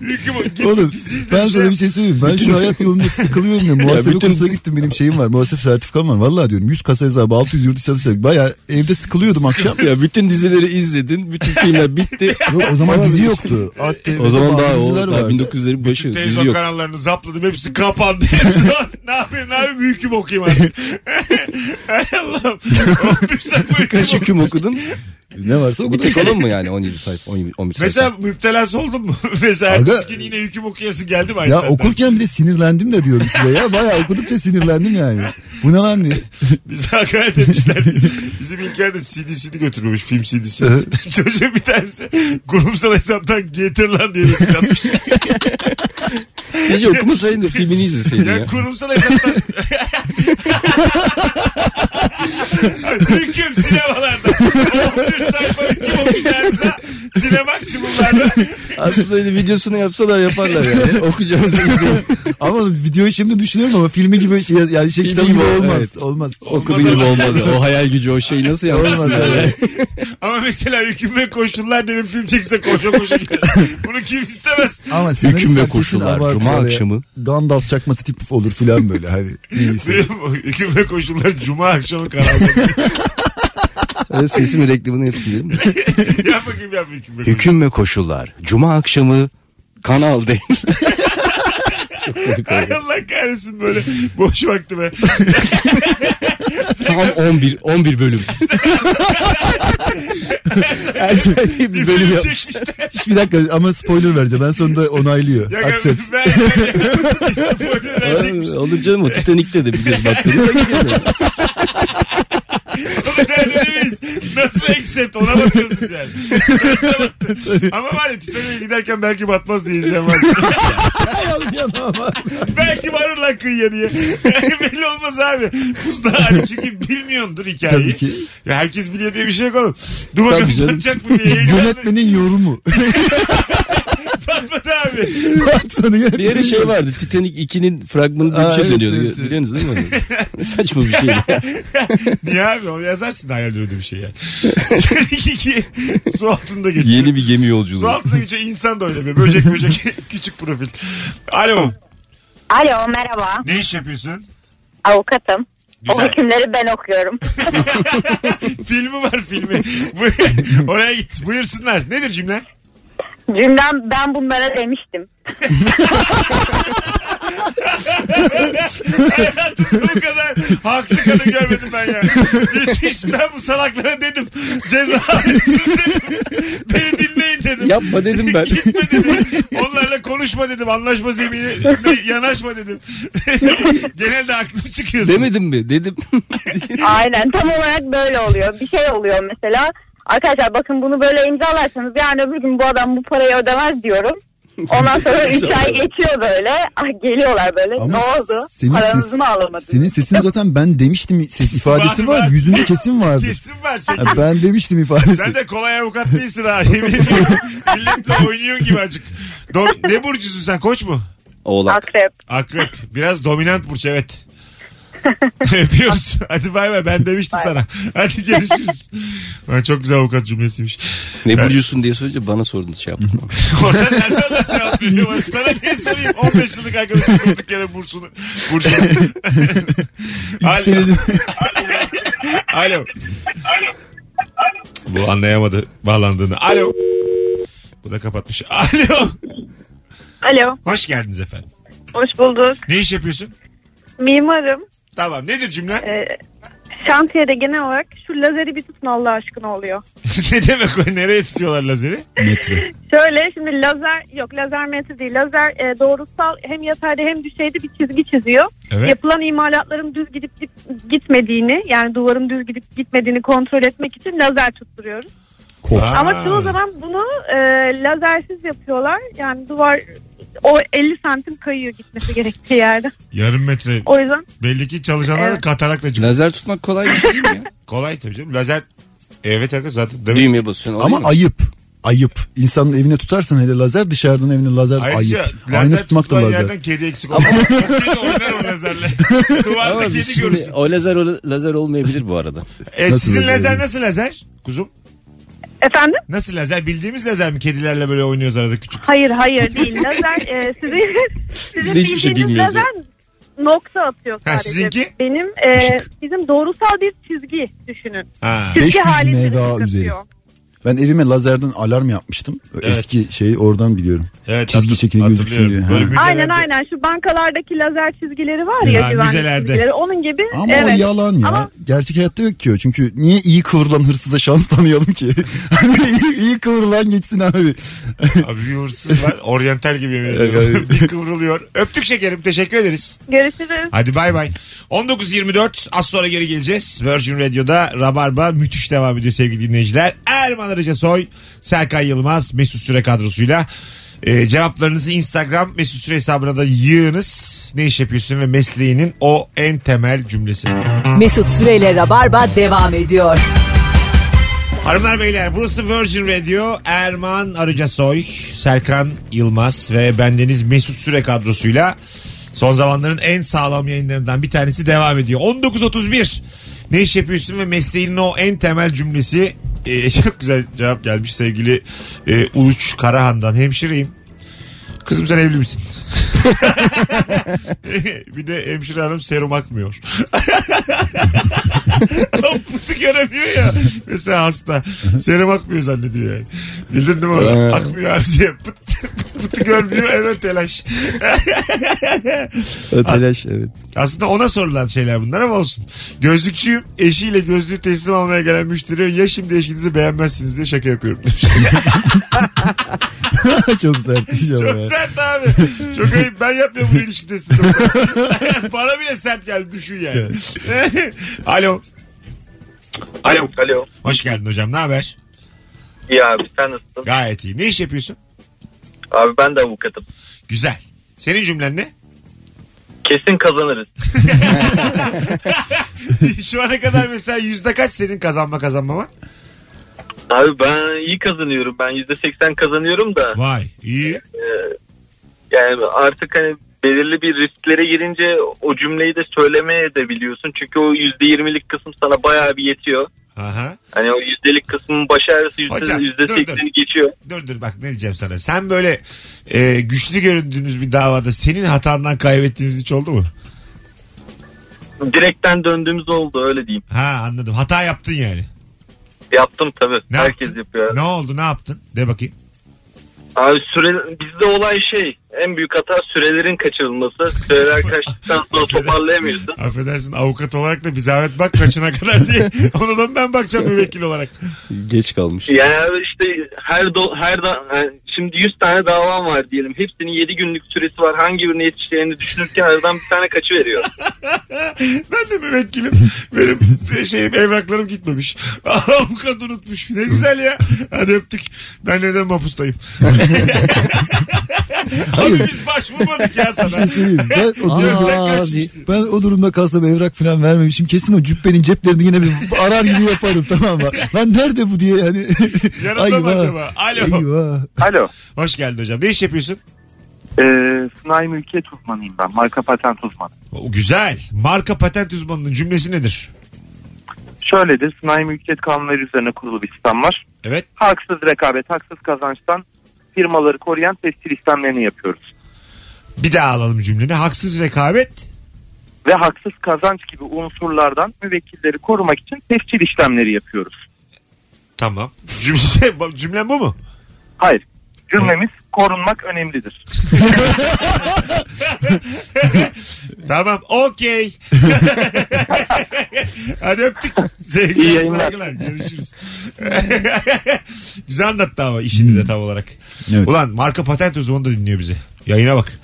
Speaker 2: Hüküm git,
Speaker 5: Oğlum ben sana bir şey söyleyeyim. Ben şu hayat yolunda sıkılıyorum ya. Muhasebe
Speaker 4: bütün-
Speaker 5: kursuna gittim benim şeyim var. Muhasebe sertifikam var. Vallahi diyorum 100 kasa hesabı 600 yurt dışı hesabı. Baya evde sıkılıyordum akşam.
Speaker 4: [laughs] Ya bütün dizileri izledin. Bütün filmler bitti.
Speaker 5: Yok, o zaman dizi yoktu. ATV'de
Speaker 4: O zaman daha, o,
Speaker 5: diziler
Speaker 4: daha
Speaker 5: vardı.
Speaker 4: 1900'lerin başı. Dizi
Speaker 2: Televizyon
Speaker 4: yok.
Speaker 2: kanallarını zapladım hepsi kapandı. [laughs] ne yapayım ne yapayım hüküm okuyayım artık. [laughs] Hay Allah'ım. Bir sayfa hüküm okuyayım.
Speaker 4: Kaç hüküm okudun?
Speaker 5: Ne varsa
Speaker 4: Bir
Speaker 5: okudum.
Speaker 4: tek
Speaker 5: işte.
Speaker 4: onun mu yani 17 sayfa? 11 sayfa.
Speaker 2: Mesela müptelası oldun mu? [laughs] Mesela
Speaker 5: Aga-
Speaker 2: ertesi gün yine hüküm okuyası geldi mi?
Speaker 5: Ya
Speaker 2: Ayşen'den?
Speaker 5: okurken bile sinirlendim de diyorum size ya. Bayağı okudukça sinirlendim yani. Bu ne lan diye. [laughs]
Speaker 2: Bize hakaret etmişler diye. Bizim İlker de CD'sini götürmemiş film CD'sini.
Speaker 4: [laughs]
Speaker 5: Evet.
Speaker 2: Çocuğun bir tanesi kurumsal hesaptan getir lan diye şey mesaj atmış.
Speaker 4: Keşke okumasaydın da filmini izleseydin
Speaker 2: Ya
Speaker 4: ya.
Speaker 2: kurumsal hesaptan. [laughs] Hüküm sinemalarda. 11 sayfa hüküm okuyacağınıza sinema maksimumlarda.
Speaker 4: Aslında öyle videosunu yapsalar yaparlar yani. Okuyacağız izleyin.
Speaker 5: Ama videoyu şimdi düşünüyorum ama filmi gibi şey, yani şey
Speaker 4: Filmi
Speaker 5: kitabı
Speaker 4: gibi
Speaker 5: gibi olmaz.
Speaker 4: evet.
Speaker 5: Olmaz.
Speaker 4: Okuduğu gibi olmaz. O hayal gücü o şeyi nasıl
Speaker 5: Olmaz
Speaker 4: yansıtsın yani.
Speaker 2: Ama mesela hüküm ve koşullar diye bir film çekse koşa koşa gider. Bunu kim istemez?
Speaker 5: Ama senaristler
Speaker 4: Hüküm ve
Speaker 5: kesin
Speaker 4: koşullar,
Speaker 5: abartıyor
Speaker 4: cuma
Speaker 5: ya.
Speaker 4: akşamı.
Speaker 5: Gandalf çakması tip olur filan böyle. Hani neyse.
Speaker 2: hüküm ve koşullar cuma akşamı kanalda.
Speaker 4: Evet, Sesimin reklamını yapayım.
Speaker 2: [laughs] yap bakayım yap hüküm ve koşullar.
Speaker 9: Hüküm ve koşullar. Cuma akşamı
Speaker 4: Kanal değil.
Speaker 2: Ay Allah kahretsin böyle. Boş vakti be.
Speaker 5: [laughs]
Speaker 4: Tam 11 11 bölüm.
Speaker 5: Her şey
Speaker 4: bir bölüm yap.
Speaker 2: Çekmişler.
Speaker 5: Hiçbir dakika ama spoiler vereceğim. En sonunda onaylıyor.
Speaker 2: Ya
Speaker 5: Accept.
Speaker 2: [laughs] ben, ben, [laughs] ben, spoiler verecekmiş.
Speaker 4: Olur canım o Titanik'te de bir göz baktınız.
Speaker 2: O derdimiz. Nasıl accept ona bakıyoruz biz yani. Ama var ya Titanic'e giderken belki batmaz diye izleyen
Speaker 5: [laughs]
Speaker 2: var. belki varır lan kıyıya diye. [laughs] Belli olmaz abi. Buzda hani çünkü bilmiyordur hikayeyi.
Speaker 5: Tabii ki.
Speaker 2: Ya herkes biliyor diye bir şey yok oğlum. Dur
Speaker 5: Tabii
Speaker 2: bakalım
Speaker 5: canım.
Speaker 2: batacak mı diye.
Speaker 5: [laughs] Yönetmenin yorumu.
Speaker 2: Batmadı abi.
Speaker 5: Batman'ı
Speaker 4: Bir yere
Speaker 5: yönetmenin
Speaker 4: şey vardı. Titanic 2'nin fragmanı diye bir
Speaker 5: Aa,
Speaker 4: şey
Speaker 5: evet,
Speaker 4: dönüyordu.
Speaker 5: evet, evet.
Speaker 4: Biliyorsunuz değil mi? onu? ne saçma bir şey.
Speaker 2: Niye abi? Onu yazarsın hayal ürünü bir şey
Speaker 5: [laughs]
Speaker 2: yani. [laughs] Seninki ki su altında geçiyor.
Speaker 4: Yeni bir gemi
Speaker 2: Su
Speaker 4: yolculuğu.
Speaker 2: altında geçiyor insan da oynamıyor. Böcek böcek [laughs] küçük profil. Alo.
Speaker 8: Alo merhaba.
Speaker 2: Ne iş yapıyorsun?
Speaker 8: Avukatım. O
Speaker 2: Güzel.
Speaker 8: hükümleri ben okuyorum.
Speaker 2: filmi var
Speaker 4: [laughs]
Speaker 2: filmi. Bu- Oraya git. Buyursunlar. Nedir cümle?
Speaker 8: Cümlem ben bunlara
Speaker 2: [laughs]
Speaker 8: demiştim.
Speaker 2: bu kadar haklı kadın görmedim ben ya. Müthiş. Ben bu salaklara dedim. Ceza alsın dedim. Beni dinleyin dedim.
Speaker 4: Yapma dedim ben.
Speaker 2: Gitme dedim. Onlarla konuşma dedim. Anlaşma zemini yanaşma dedim. [laughs] Genelde aklım çıkıyor.
Speaker 4: Demedim mi? Dedim.
Speaker 8: Aynen tam olarak böyle oluyor. Bir şey oluyor mesela. Arkadaşlar bakın bunu böyle imzalarsanız yani öbür gün bu adam bu parayı ödemez diyorum. Ondan sonra 3 ay geçiyor böyle. Ah, geliyorlar böyle.
Speaker 5: Ama
Speaker 8: ne oldu?
Speaker 5: senin
Speaker 8: Paranızı
Speaker 5: ses-
Speaker 8: mı alamadınız?
Speaker 5: Senin sesin zaten ben demiştim ses ifadesi
Speaker 2: Var,
Speaker 5: var.
Speaker 2: var.
Speaker 5: Yüzünde kesin vardır.
Speaker 2: Kesin var şey.
Speaker 5: Ha, ben demiştim ifadesi.
Speaker 2: Sen de kolay avukat değilsin ha. Yemin [laughs] ediyorum. Milletle oynuyorsun gibi acık. Do- ne burcusun sen koç mu?
Speaker 4: Oğlak.
Speaker 8: Akrep.
Speaker 2: Akrep. Biraz dominant burç evet. [laughs] Öpüyoruz. Hadi bay bay ben demiştim sana. Hadi [laughs] görüşürüz. Lan çok güzel avukat cümlesiymiş.
Speaker 4: Ne burcusun diye sorunca bana sordun şey yaptın.
Speaker 2: Orada nereden de cevap veriyor? bana? Sana ne sorayım? 15 yıllık arkadaşım durduk yere burçunu. Burçunu. [laughs] Alo.
Speaker 5: Yükselelim.
Speaker 2: Alo. Bu anlayamadı bağlandığını. Alo. Bu da kapatmış. Alo.
Speaker 6: Alo,
Speaker 2: Hoş geldiniz efendim.
Speaker 6: hoş bulduk.
Speaker 2: Ne iş yapıyorsun?
Speaker 6: Mimarım.
Speaker 2: Tamam nedir cümle?
Speaker 6: Ee, şantiyede genel olarak şu lazeri bir tutun Allah aşkına oluyor.
Speaker 2: [laughs] ne demek o? Nereye tutuyorlar lazeri?
Speaker 5: Metre.
Speaker 6: Şöyle şimdi lazer yok lazer metre değil lazer e, doğrusal hem yatayda hem düşeyde bir çizgi çiziyor.
Speaker 2: Evet.
Speaker 6: Yapılan imalatların düz gidip git- gitmediğini yani duvarın düz gidip gitmediğini kontrol etmek için lazer tutturuyoruz.
Speaker 2: Aa.
Speaker 6: Ama çoğu zaman bunu e, lazersiz yapıyorlar yani duvar o 50 santim kayıyor gitmesi gerektiği yerde.
Speaker 2: Yarım metre.
Speaker 6: O yüzden
Speaker 2: Belli ki çalışanlar da katarakla çıkıyor.
Speaker 4: Lazer tutmak kolay bir şey değil mi ya?
Speaker 2: Kolay tabii canım. Lazer evet arkadaş zaten demek.
Speaker 4: Düğmeye basıyorsun. oluyor
Speaker 5: Ama
Speaker 4: mu?
Speaker 5: ayıp. Ayıp. İnsanın evine tutarsan hele lazer dışarıdan evine lazer
Speaker 2: Ayrıca
Speaker 5: ayıp.
Speaker 2: lazer
Speaker 5: Aynı tutmak da
Speaker 2: tutulan
Speaker 5: lazer.
Speaker 2: yerden kedi eksik
Speaker 5: [laughs]
Speaker 2: olmaz. O kedi oynar o lazerle. Duvarda
Speaker 4: Ama
Speaker 2: kedi
Speaker 4: biz şimdi
Speaker 2: görürsün.
Speaker 4: o lazer o lazer olmayabilir bu arada.
Speaker 2: E,
Speaker 5: Nasıl
Speaker 2: sizin
Speaker 5: lazer
Speaker 2: lazer
Speaker 5: yani?
Speaker 2: nasıl lazer? Kuzum
Speaker 6: efendim
Speaker 2: nasıl lazer? Bildiğimiz lazer mi? Kedilerle böyle oynuyoruz arada küçük.
Speaker 6: hayır hayır değil lazer e, sizin,
Speaker 4: Biz
Speaker 6: sizin
Speaker 4: de hiçbir şey
Speaker 6: bildiğiniz
Speaker 4: bilmiyoruz ya.
Speaker 6: lazer nokta atıyor
Speaker 2: Ha,
Speaker 6: sadece.
Speaker 2: sizinki?
Speaker 6: Benim e, bizim doğrusal bir çizgi düşünün.
Speaker 2: Ha.
Speaker 6: Çizgi
Speaker 5: 500
Speaker 6: halinde
Speaker 5: mega
Speaker 6: çıkartıyor.
Speaker 5: üzeri. Ben evime lazerden alarm yapmıştım. Eski şeyi oradan biliyorum.
Speaker 2: Evet,
Speaker 5: Çizgi
Speaker 2: hatır-
Speaker 5: şekli gözüksün
Speaker 2: hatırlıyorum.
Speaker 5: diye.
Speaker 2: Böyle
Speaker 5: Ha.
Speaker 2: müzelerde-
Speaker 6: Aynen aynen şu bankalardaki lazer çizgileri var
Speaker 2: Ha,
Speaker 6: ya güvenlik
Speaker 2: müzelerde.
Speaker 6: çizgileri onun gibi.
Speaker 5: Ama
Speaker 6: evet.
Speaker 5: o yalan ya.
Speaker 6: Ama-
Speaker 5: Gerçek hayatta yok ki o. Çünkü niye iyi kıvrılan hırsıza şans tanıyalım ki? [laughs] Hani iyi, iyi kıvrılan geçsin abi.
Speaker 2: Abi bir hırsız var. Oryantal gibi
Speaker 5: [laughs]
Speaker 2: yemin
Speaker 5: Evet,
Speaker 2: ediyorum.
Speaker 5: evet.
Speaker 2: bir kıvrılıyor. Öptük şekerim. Teşekkür ederiz.
Speaker 6: Görüşürüz.
Speaker 2: Hadi bay bay. 19.24 az sonra geri geleceğiz. Virgin Radio'da Rabarba müthiş devam ediyor sevgili dinleyiciler. Erman Arıca Soy, Serkan Yılmaz, Mesut Süre kadrosuyla. Ee, cevaplarınızı Instagram Mesut Süre hesabına da yığınız. Ne iş yapıyorsun ve mesleğinin o en temel cümlesi.
Speaker 1: Mesut Süreyle Rabarba devam ediyor.
Speaker 2: Hanımlar beyler burası Virgin Radio. Erman Arıca Soy, Serkan Yılmaz ve bendeniz Mesut Süre kadrosuyla son zamanların en sağlam yayınlarından bir tanesi devam ediyor. 19.31 ne iş yapıyorsun ve mesleğinin o en temel cümlesi Ee, [laughs] çok güzel cevap gelmiş sevgili e, Uluç Karahan'dan hemşireyim. Kızım sen evli misin? [laughs] bir de hemşire hanım serum akmıyor. [laughs] Bunu göremiyor ya. Mesela hasta. Serum akmıyor zannediyor yani. Bildin değil mi? onu?
Speaker 4: Evet.
Speaker 2: akmıyor abi diye. Pıt, pıt, pıtı görmüyor hemen telaş. [laughs]
Speaker 4: Öteleş evet.
Speaker 2: Aslında ona sorulan şeyler bunlar ama olsun. Gözlükçüyüm. Eşiyle gözlüğü teslim almaya gelen müşteri ya şimdi eşinizi beğenmezsiniz diye şaka yapıyorum. demiş. [laughs]
Speaker 5: [laughs] Çok sert bir şey ama ya.
Speaker 2: Çok sert abi. Çok ayıp. Ben yapmıyorum bu [laughs] ilişkidesini. [laughs] Bana bile sert geldi. Düşün yani. Alo. Alo.
Speaker 7: Alo.
Speaker 2: Hoş geldin hocam. Ne haber?
Speaker 7: İyi abi sen nasılsın?
Speaker 2: Gayet iyi. Ne iş yapıyorsun?
Speaker 7: Abi ben de avukatım.
Speaker 2: Güzel. Senin cümlen ne? [laughs]
Speaker 7: Kesin kazanırız.
Speaker 2: Şu ana kadar mesela yüzde kaç senin kazanma kazanmama?
Speaker 7: Abi ben iyi kazanıyorum. Ben %80 kazanıyorum da.
Speaker 2: Vay iyi.
Speaker 7: Yani artık hani belirli bir risklere girince o cümleyi de söylemeye de biliyorsun. Çünkü o %20'lik kısım sana bayağı bir yetiyor.
Speaker 2: Aha.
Speaker 7: Hani o %'lik kısmın baş ağrısı yüzde-
Speaker 2: Hocam, dur, dur.
Speaker 7: %80'i geçiyor.
Speaker 2: Dur dur bak ne diyeceğim sana. Sen böyle e, güçlü göründüğünüz bir davada senin hatandan kaybettiğiniz hiç oldu mu?
Speaker 7: Direkten döndüğümüz oldu öyle diyeyim.
Speaker 2: Ha anladım. Hata yaptın yani.
Speaker 7: Yaptım tabii.
Speaker 2: Ne
Speaker 7: Herkes
Speaker 2: yaptın?
Speaker 7: yapıyor.
Speaker 2: Ne oldu ne yaptın? De bakayım.
Speaker 7: Abi süre, bizde olay şey en büyük hata sürelerin kaçırılması. Süreler kaçtıktan sonra toparlayamıyorsun.
Speaker 2: Affedersin avukat olarak da bir zahmet bak kaçına kadar
Speaker 5: [laughs]
Speaker 2: diye. Ona da ben bakacağım müvekkil olarak.
Speaker 4: Geç kalmış.
Speaker 7: Şey, Yani işte her do, her da, yani şimdi 100 tane davam var diyelim. Hepsinin 7 günlük süresi var. Hangi birine yetişeceğini düşünürken aradan bir tane kaçıveriyor.
Speaker 2: Ben de müvekkilim. Benim şeyim evraklarım gitmemiş. [laughs] Avukat unutmuş. Ne güzel ya. Hadi öptük. Ben neden mapustayım?
Speaker 5: [laughs]
Speaker 2: Abi biz başvurmadık ya
Speaker 5: Bir şey
Speaker 2: sana.
Speaker 5: söyleyeyim. Ben o,
Speaker 2: Aa,
Speaker 5: durumda,
Speaker 2: abi.
Speaker 5: ben o durumda kalsam evrak falan vermemişim. Kesin o cübbenin ceplerini yine bir arar gibi yaparım tamam mı? Lan nerede bu diye hani.
Speaker 2: Yanında mı acaba? Alo.
Speaker 5: Eyvah.
Speaker 10: Alo.
Speaker 2: Hoş geldin hocam. Ne iş yapıyorsun?
Speaker 10: Ee, sanayi mülkiyet uzmanıyım ben. Marka patent uzmanı.
Speaker 2: O, güzel. Marka patent uzmanının cümlesi nedir?
Speaker 10: Şöyledir. Sanayi mülkiyet kanunları üzerine kurulu bir sistem var.
Speaker 2: Evet.
Speaker 10: Haksız rekabet, haksız kazançtan firmaları koruyan tescil işlemlerini yapıyoruz.
Speaker 2: Bir daha alalım cümleni. Haksız rekabet.
Speaker 10: Ve haksız kazanç gibi unsurlardan müvekkilleri korumak için tescil işlemleri yapıyoruz.
Speaker 2: Tamam. Cümle, [laughs] cümlen bu mu?
Speaker 10: Hayır. Cümlemiz korunmak önemlidir.
Speaker 2: Tamam okey. Hadi öptük.
Speaker 10: İyi
Speaker 2: Sevgiler
Speaker 10: yayınlar.
Speaker 2: saygılar. Görüşürüz. [laughs] Güzel anlattı ama işini de tam olarak.
Speaker 5: Evet.
Speaker 2: Ulan marka patent uzmanı da dinliyor bizi. Yayına bak.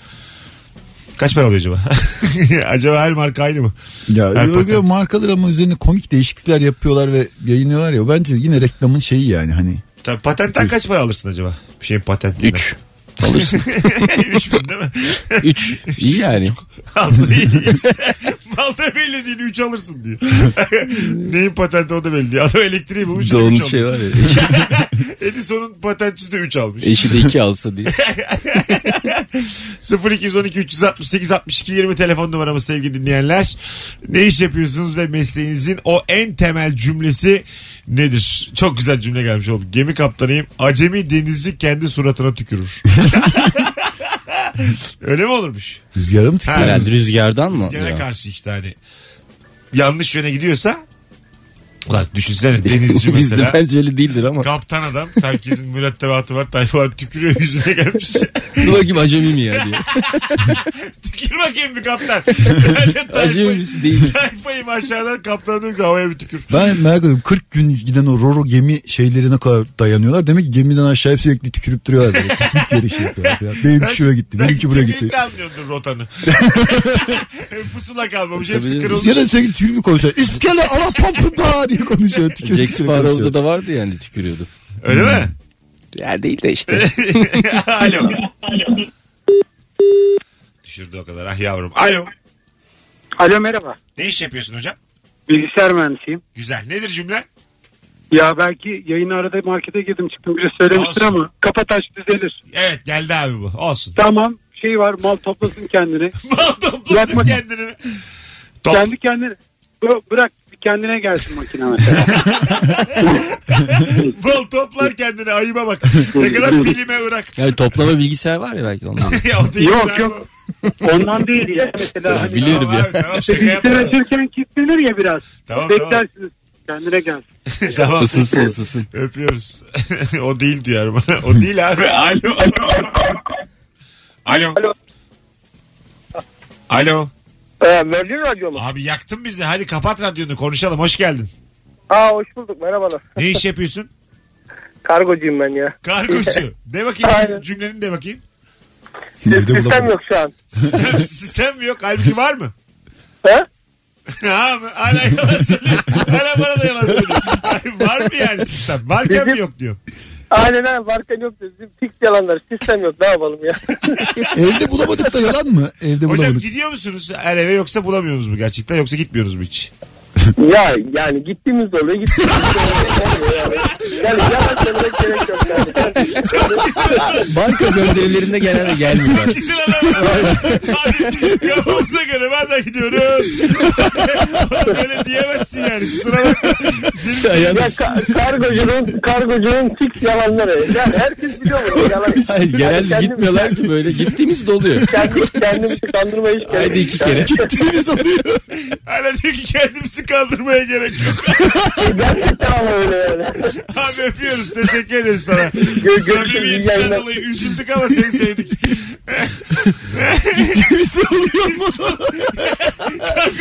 Speaker 2: Kaç para oluyor acaba? [laughs] acaba her marka aynı mı?
Speaker 5: Ya
Speaker 2: Her
Speaker 5: öyle
Speaker 2: patent.
Speaker 5: markalar ama üzerine komik değişiklikler yapıyorlar ve yayınlıyorlar ya. Bence yine reklamın şeyi yani hani.
Speaker 2: Tabii patentten kaç para alırsın acaba? Bir şey patentinden.
Speaker 9: Üç.
Speaker 4: Alırsın.
Speaker 2: [laughs] 3 bin değil mi?
Speaker 9: 3.
Speaker 4: İyi yani.
Speaker 2: Alsa iyi işte. [laughs] Mal da belli değil 3 alırsın diyor. [laughs] Neyin patenti o da belli değil. Adam elektriği bulmuş. yine
Speaker 4: Doğum
Speaker 2: üç almış.
Speaker 4: şey var ya.
Speaker 2: Edison'un patentçisi de 3 almış.
Speaker 4: Eşi de iki alsa diye.
Speaker 2: 0212 368 62 20 telefon numaramız sevgili dinleyenler. Ne iş yapıyorsunuz ve mesleğinizin o en temel cümlesi nedir? Çok güzel cümle gelmiş oldu. Gemi kaptanıyım. Acemi denizci kendi suratına tükürür. [laughs] Öyle mi olurmuş?
Speaker 5: Rüzgarım tükürüyor.
Speaker 2: Ha,
Speaker 9: Herhalde rüzgardan mı?
Speaker 2: Gene
Speaker 9: Ya.
Speaker 2: karşı işte hani. Yanlış yöne gidiyorsa Ulan düşünsene denizci mesela.
Speaker 4: [laughs] Bizde bence öyle değildir ama.
Speaker 2: Kaptan adam. Herkesin mürettebatı var. Tayfa var tükürüyor yüzüne gelmiş.
Speaker 4: Dur bakayım acemi mi ya diye.
Speaker 2: Tükür bakayım bir kaptan.
Speaker 4: Acemi misin değil
Speaker 2: [laughs]
Speaker 4: misin?
Speaker 2: Sayfayım aşağıdan kaptana diyorum ki havaya bir tükür.
Speaker 5: Ben merak ediyorum 40 gün giden o Roro gemi şeyleri ne kadar dayanıyorlar. Demek ki gemiden aşağıya sürekli tükürüp duruyorlar. Böyle. Tükürük yeri şey yapıyorlar. falan. Benimki şuraya gitti. Benimki buraya gitti.
Speaker 2: Tükürükle anlıyordur rotanı. [laughs] Pusula kalmamış. Hepsi
Speaker 4: Tabii.
Speaker 2: kırılmış.
Speaker 5: Ya da sürekli tükürük konuşuyor. İskele ala pompı da diye konuşuyor.
Speaker 4: Jack
Speaker 5: Tükürük tükürük
Speaker 4: Sparrow'da
Speaker 5: konuşuyor.
Speaker 4: da vardı yani tükürüyordu.
Speaker 2: Öyle mi?
Speaker 4: Ya değil de işte.
Speaker 2: [laughs] Alo. Düşürdü o kadar ah yavrum. Alo.
Speaker 7: Alo merhaba.
Speaker 2: Ne iş yapıyorsun hocam?
Speaker 7: Bilgisayar mühendisiyim.
Speaker 2: Güzel. Nedir cümle?
Speaker 7: Ya belki yayını arada markete girdim çıktım. Biri söylemiştir
Speaker 2: Olsun.
Speaker 7: ama kafa taş düzelir.
Speaker 2: Evet geldi abi bu. Olsun. [laughs]
Speaker 7: Tamam şey var mal toplasın kendini.
Speaker 2: Mal toplasın
Speaker 7: Yapma.
Speaker 2: kendini. Top.
Speaker 7: Kendi kendine Bı- bırak bir kendine gelsin makine mesela.
Speaker 2: Bol toplar kendini ayıba bak. Ne
Speaker 7: [laughs]
Speaker 2: kadar bilime ırak.
Speaker 4: Yani toplama bilgisayar var ya belki ondan.
Speaker 2: [laughs] Ya o değil
Speaker 7: Yok,
Speaker 2: abi.
Speaker 7: yok. Ondan değil ya mesela. Hani,
Speaker 4: Biliyorum
Speaker 2: Tamam
Speaker 4: ya.
Speaker 2: abi, tamam, şaka
Speaker 7: Bilgisayar
Speaker 2: yapma.
Speaker 7: açırken kilitlenir ya biraz.
Speaker 2: Tamam,
Speaker 7: Beklersiniz. Kendine gelsin.
Speaker 2: [laughs] tamam.
Speaker 4: Isınsın ısınsın.
Speaker 2: Öpüyoruz. [laughs] o değil diyor bana. O değil abi. [laughs] Alo. Alo. Alo. Alo.
Speaker 7: Ee, Merlin Radyo mu?
Speaker 2: Abi yaktın bizi. Hadi kapat radyonu konuşalım. Hoş geldin.
Speaker 7: Aa hoş bulduk merhabalar.
Speaker 2: Ne iş yapıyorsun?
Speaker 7: Kargocuyum ben ya.
Speaker 2: Kargocu. De bakayım
Speaker 7: Aynen.
Speaker 2: cümlenin de bakayım.
Speaker 5: Evde
Speaker 7: Sistem
Speaker 5: bulamadım.
Speaker 7: yok şu an.
Speaker 2: [laughs] Sistem, sistem mi yok? Halbuki var mı?
Speaker 7: He?
Speaker 2: Ha, hala yalan söylüyor. Hala bana da yalan söylüyor. Ay, Var mı yani sistem? Varken mi
Speaker 7: Bizim-
Speaker 2: yok diyor.
Speaker 7: Aynen ha varken yok dedim. Fix yalanlar sistem yok ne yapalım ya.
Speaker 5: Evde bulamadık da yalan mı? Evde
Speaker 2: Hocam
Speaker 5: bulamadık.
Speaker 2: gidiyor musunuz her eve yoksa bulamıyorsunuz mu gerçekten yoksa gitmiyorsunuz mu hiç?
Speaker 7: ya yani gittiğimiz de oluyor gittiğimiz de olmuyor yani. Yani yalan söylemek gerek yok yani.
Speaker 4: Banka gönderilerinde genelde [laughs] gelmiyor.
Speaker 2: Gidin adamlar. Hadi yapımıza göre bazen gidiyoruz. Oğlum Böyle diyemezsin yani kusura bakma. Senin-
Speaker 4: Yani-
Speaker 7: Ya ka- kargocunun, kargocunun fix yalanları. Yani herkes biliyor bunu yalan.
Speaker 4: Hayır,
Speaker 7: Yani
Speaker 4: genelde
Speaker 7: kendim-
Speaker 4: gitmiyorlar ki böyle. Gittiğimiz de oluyor.
Speaker 7: Kendim, kendimizi kandırmaya hiç gerek
Speaker 4: Haydi
Speaker 7: yok.
Speaker 4: iki kere.
Speaker 5: Gittiğimiz oluyor.
Speaker 2: Hala diyor ki kendimizi kandırmaya gerek yok.
Speaker 7: Yani Gerçekten ama öyle yani.
Speaker 2: Abi öpüyoruz teşekkür ederiz sana.
Speaker 7: görüşürüz, iyi
Speaker 2: Samimiyetinden
Speaker 7: yayınlar.
Speaker 2: dolayı üzüldük ama seni sevdik.
Speaker 5: Gittiğimiz de oluyor
Speaker 2: [laughs]
Speaker 5: mu?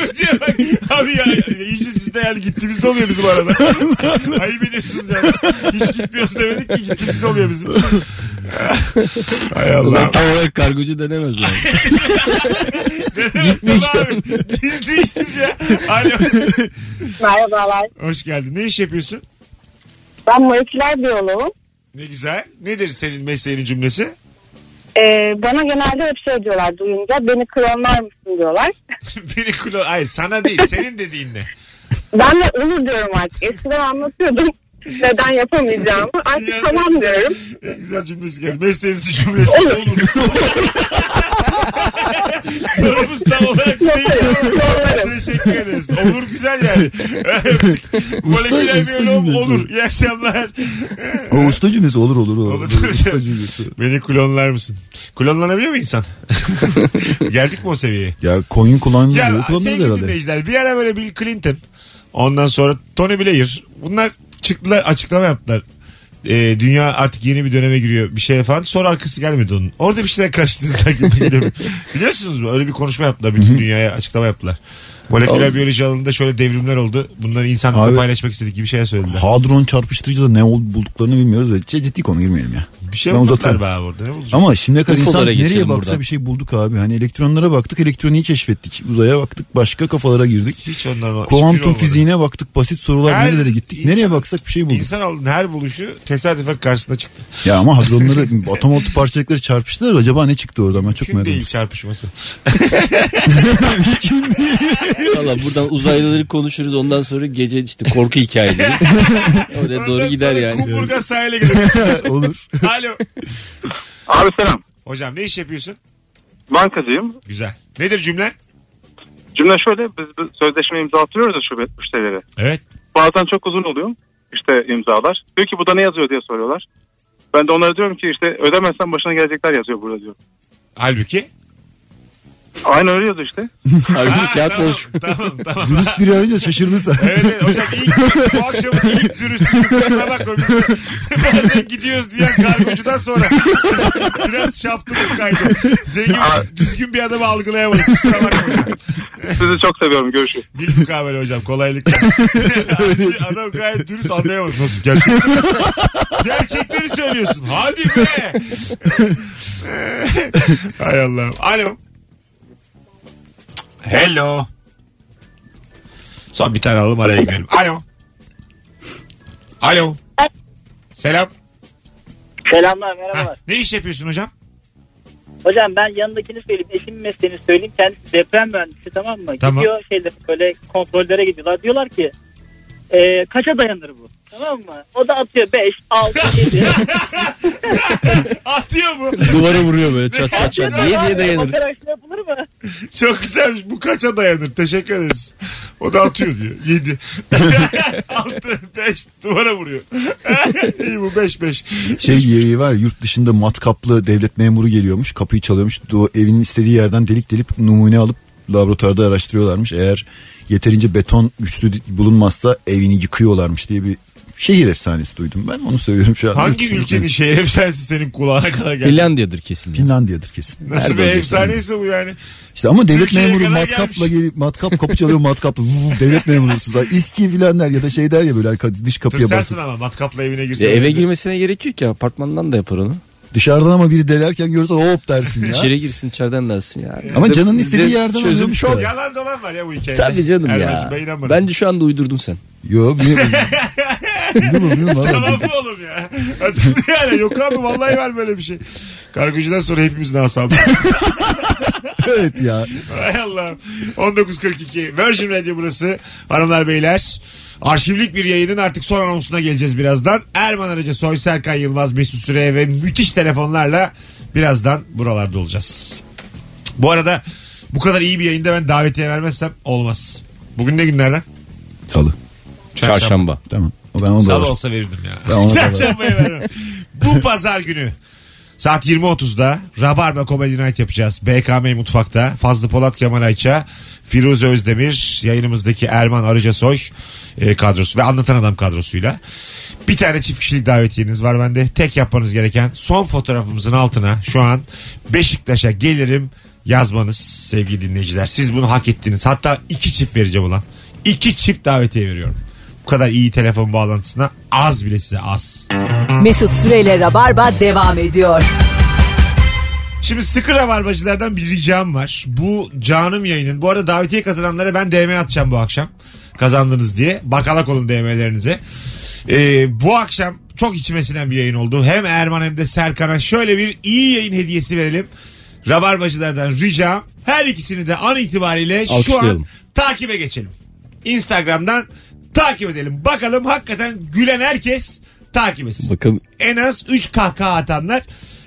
Speaker 2: Kocaya bak. Abi ya iyice sizde yani gittiğimizde oluyor bizim arada. Ayıp ediyorsunuz ya. Hiç gitmiyoruz demedik ki gittiğimizde oluyor bizim. Hay Allah.
Speaker 4: Ulan tam olarak kargocu denemez yani.
Speaker 2: Gitmiş. Gizli işsiz ya. Alo.
Speaker 8: [laughs] Merhabalar.
Speaker 2: Hoş geldin. Ne iş yapıyorsun?
Speaker 8: Ben moleküler biyoloğum.
Speaker 2: Ne güzel. Nedir senin mesleğinin [laughs] cümlesi?
Speaker 8: Ee, bana genelde hep şey diyorlar duyunca beni klonlar mısın diyorlar.
Speaker 2: Beni klon... Hayır sana değil. Senin dediğin ne?
Speaker 8: Ben de olur diyorum artık. Eskiden anlatıyordum [laughs] neden yapamayacağımı. Artık tamam diyorum.
Speaker 2: Ne güzel cümlesi geldi. Mesleğinizin cümlesi olur.
Speaker 8: Olur.
Speaker 2: Sorumuz tam olarak değil.
Speaker 8: Yaparım, yaparım.
Speaker 2: Teşekkür ederiz. Olur güzel yani. Moleküler
Speaker 5: usta
Speaker 2: biyoloğum
Speaker 5: cümlesi.
Speaker 2: olur. İyi akşamlar.
Speaker 5: O usta cümlesi olur olur olur.
Speaker 2: Olur.
Speaker 5: usta cümlesi.
Speaker 2: Beni klonlar mısın? Klonlanabiliyor mu [laughs] insan? Geldik mi o seviyeye?
Speaker 5: Ya koyun
Speaker 2: Ya
Speaker 5: kullanmıyor. Ya, kullanmıyor
Speaker 2: sevgili
Speaker 5: herhalde.
Speaker 2: dinleyiciler bir ara böyle Bill Clinton ondan sonra Tony Blair bunlar çıktılar açıklama yaptılar. Ee, dünya artık yeni bir döneme giriyor bir şey falan. Sonra arkası gelmedi onun. Orada bir şeyler karıştırdılar gibi
Speaker 5: [laughs]
Speaker 2: geliyor. Biliyorsunuz mu? Öyle bir konuşma yaptılar. Bütün dünyaya açıklama yaptılar. Moleküler
Speaker 4: Abi-
Speaker 2: biyoloji alanında şöyle devrimler oldu. Bunları insanla
Speaker 5: Abi-
Speaker 2: paylaşmak istedik gibi şeyler söylediler.
Speaker 5: Hadron çarpıştırıcıda ne ol- bulduklarını bilmiyoruz ve c- ciddi konu girmeyelim ya.
Speaker 2: Bir şey
Speaker 5: Ben
Speaker 2: uzatlar
Speaker 5: uzatırım.
Speaker 2: be abi orada. Ne bulacak?
Speaker 5: Ama şimdiye kadar
Speaker 4: UFO'lara
Speaker 5: insan nereye
Speaker 4: geçelim
Speaker 5: baksa
Speaker 4: buradan.
Speaker 5: bir şey bulduk abi. Hani elektronlara baktık, elektroniği keşfettik. Uzaya baktık, başka kafalara girdik.
Speaker 2: Hiç onların hiçbiri
Speaker 5: Kuantum
Speaker 2: şey olmadı.
Speaker 5: fiziğine baktık, basit sorular
Speaker 2: Her
Speaker 5: nerelere gittik.
Speaker 2: insan-
Speaker 5: nereye baksak bir şey bulduk.
Speaker 2: İnsanoğlunun her buluşu tesadüfen karşısına çıktı.
Speaker 5: Ya
Speaker 2: [laughs]
Speaker 5: ama hadronları, atom altı parçacıkları çarpıştılar. Acaba ne çıktı oradan? Ben çok
Speaker 2: Kim
Speaker 5: merak
Speaker 2: değil
Speaker 5: ediyorum.
Speaker 2: çarpışması.
Speaker 4: Valla buradan uzaylıları konuşuruz ondan sonra gece işte
Speaker 2: [laughs]
Speaker 4: korku hikayeleri. Oraya doğru
Speaker 2: Ondan
Speaker 4: gider
Speaker 2: sonra
Speaker 4: yani.
Speaker 2: Kumburgaz sahile
Speaker 5: [laughs]
Speaker 2: gidelim.
Speaker 5: Olur.
Speaker 2: Alo.
Speaker 10: Abi selam.
Speaker 2: Hocam ne iş yapıyorsun?
Speaker 10: Bankacıyım.
Speaker 2: Güzel. Nedir cümlen?
Speaker 10: Cümle şöyle biz bir sözleşme imzalatıyoruz ya şube müşterilere.
Speaker 2: Evet.
Speaker 10: Bazen çok uzun oluyor işte imzalar. Diyor ki bu da ne yazıyor diye soruyorlar. Ben de onlara diyorum ki işte ödemezsen başına gelecekler yazıyor burada diyor.
Speaker 2: Halbuki.
Speaker 10: Aynen öyle yazıyor işte.
Speaker 4: Harbi kağıt
Speaker 2: tamam,
Speaker 4: boş.
Speaker 2: tamam tamam.
Speaker 5: Dürüst biri arayınca şaşırdın sen.
Speaker 2: Evet, evet. hocam ilk bu akşam ilk dürüstlüğü kusura bakma biz de [laughs] bazen gidiyoruz diyen kargocudan sonra [laughs] biraz şaftımız kaydı. Zengin düzgün bir adamı algılayamadık kusura bakma hocam.
Speaker 10: Sizi çok seviyorum görüşürüz.
Speaker 2: Bil mukabele hocam kolaylıkla. Adam gayet dürüst anlayamaz nasıl gerçek. Gerçekleri söylüyorsun. Hadi be. [laughs] Hay Allah'ım. Alo. Hello. Son bir tane alalım araya girelim. Alo. Alo. Selam.
Speaker 11: [laughs] Selamlar merhabalar.
Speaker 2: Hah, ne iş yapıyorsun hocam?
Speaker 11: Hocam ben yanındakini söyleyeyim. Eşimin mesleğini söyleyeyim. Kendisi deprem mühendisi tamam mı?
Speaker 2: Tamam.
Speaker 11: Gidiyor şeyde böyle kontrollere gidiyorlar. Diyorlar ki e, kaça dayanır bu? Tamam mı? O da atıyor 5, 6, 7.
Speaker 2: Atıyor mu?
Speaker 4: Duvara vuruyor böyle çat çat çat. [laughs] Niye diye dayanır.
Speaker 11: Operasyon yapılır mı?
Speaker 2: Çok güzelmiş. Bu kaça dayanır? Teşekkür ederiz. O da atıyor diyor. [laughs] 7. 6 5 duvara vuruyor. [laughs] İyi bu 5 5.
Speaker 5: Şey yeri var ya, yurt dışında matkaplı devlet memuru geliyormuş kapıyı çalıyormuş Du- evin istediği yerden delik delip numune alıp laboratuvarda araştırıyorlarmış eğer yeterince beton güçlü di- bulunmazsa evini yıkıyorlarmış diye bir şehir efsanesi duydum ben onu söylüyorum şu an.
Speaker 2: Hangi
Speaker 5: Yurt dışında-
Speaker 2: ülkenin şehir efsanesi senin kulağına kadar geldi?
Speaker 4: Finlandiya'dır kesin. ya.
Speaker 5: Finlandiya'dır kesin.
Speaker 2: Nasıl bir
Speaker 5: Nerede
Speaker 2: efsaneyse bu yani.
Speaker 5: İşte ama devlet
Speaker 2: Türkiye'ye
Speaker 5: memuru
Speaker 2: kadar
Speaker 5: matkapla
Speaker 2: gelmiş.
Speaker 5: gelip matkap kapı çalıyor matkapla
Speaker 2: [laughs]
Speaker 5: vuv, devlet memurusunuz. Ha, İSKİ filan der ya da şey der ya böyle arka- dış kapıya
Speaker 2: Tırsarsın
Speaker 5: basın.
Speaker 2: ama matkapla evine girsen.
Speaker 4: Ya eve girmesine gerek yok ki apartmandan da yapar onu.
Speaker 5: Dışarıdan ama biri delerken görürsen hop dersin ya.
Speaker 4: İçeri girsin içeriden dersin ya.
Speaker 5: Ama
Speaker 4: Bize-
Speaker 5: canının istediği
Speaker 4: bize
Speaker 5: yerden
Speaker 4: çözüm
Speaker 5: alıyormuş
Speaker 4: kolay.
Speaker 5: o.
Speaker 2: Yalan dolan var ya bu hikayede.
Speaker 4: Tabii canım
Speaker 2: Erman'cığım,
Speaker 4: ya.
Speaker 2: Ben inanmadım.
Speaker 4: Bence şu anda uydurdun sen.
Speaker 5: Yo niye
Speaker 2: [laughs]
Speaker 5: bilmiyorum abi.
Speaker 2: Yalan mı oğlum ya? Açık [laughs] yani yok abi vallahi var böyle bir şey. Kargocudan sonra hepimizin asabı.
Speaker 5: evet ya.
Speaker 2: Hay Allah'ım. 19.42 Virgin Radio burası. Hanımlar beyler. Arşivlik bir yayının artık son anonsuna geleceğiz birazdan. Erman Arıca, Soy Serkan Yılmaz, Mesut Süre ve müthiş telefonlarla birazdan buralarda olacağız. Bu arada bu kadar iyi bir yayında ben davetiye vermezsem olmaz. Bugün ne günlerden?
Speaker 5: Salı.
Speaker 4: Çarşamba.
Speaker 5: Tamam. O ben onu da
Speaker 2: Salı
Speaker 5: alırım.
Speaker 2: olsa verirdim ya.
Speaker 5: Ben ona da
Speaker 2: Çarşambaya vermem. Bu pazar günü saat 20.30'da Rabarba Comedy Night yapacağız. BKM Mutfak'ta Fazlı Polat Kemal Ayça, Firuze Özdemir, yayınımızdaki Erman Arıcasoy e, kadrosu ve Anlatan Adam kadrosuyla. Bir tane çift kişilik davetiyeniz var bende. Tek yapmanız gereken son fotoğrafımızın altına şu an Beşiktaş'a gelirim yazmanız sevgili dinleyiciler. Siz bunu hak ettiniz. Hatta iki çift vereceğim ulan. İki çift davetiye veriyorum. Bu kadar iyi telefon bağlantısına az bile size az.
Speaker 1: Mesut Süreyle Rabarba devam ediyor.
Speaker 2: Şimdi sıkı rabarbacılardan bir ricam var. Bu canım yayının. Bu arada davetiye kazananlara ben DM atacağım bu akşam. Kazandınız diye. Bakalak olun DM'lerinize. Ee, bu akşam çok içime sinen bir yayın oldu. Hem Erman hem de Serkan'a şöyle bir iyi yayın hediyesi verelim. Rabarbacılardan ricam. Her ikisini de an itibariyle şu an
Speaker 4: Alkışlayalım.
Speaker 2: takibe geçelim. Instagram'dan takip edelim. Bakalım hakikaten gülen herkes takip etsin.
Speaker 4: Bakın
Speaker 2: En az 3 kahkaha atanlar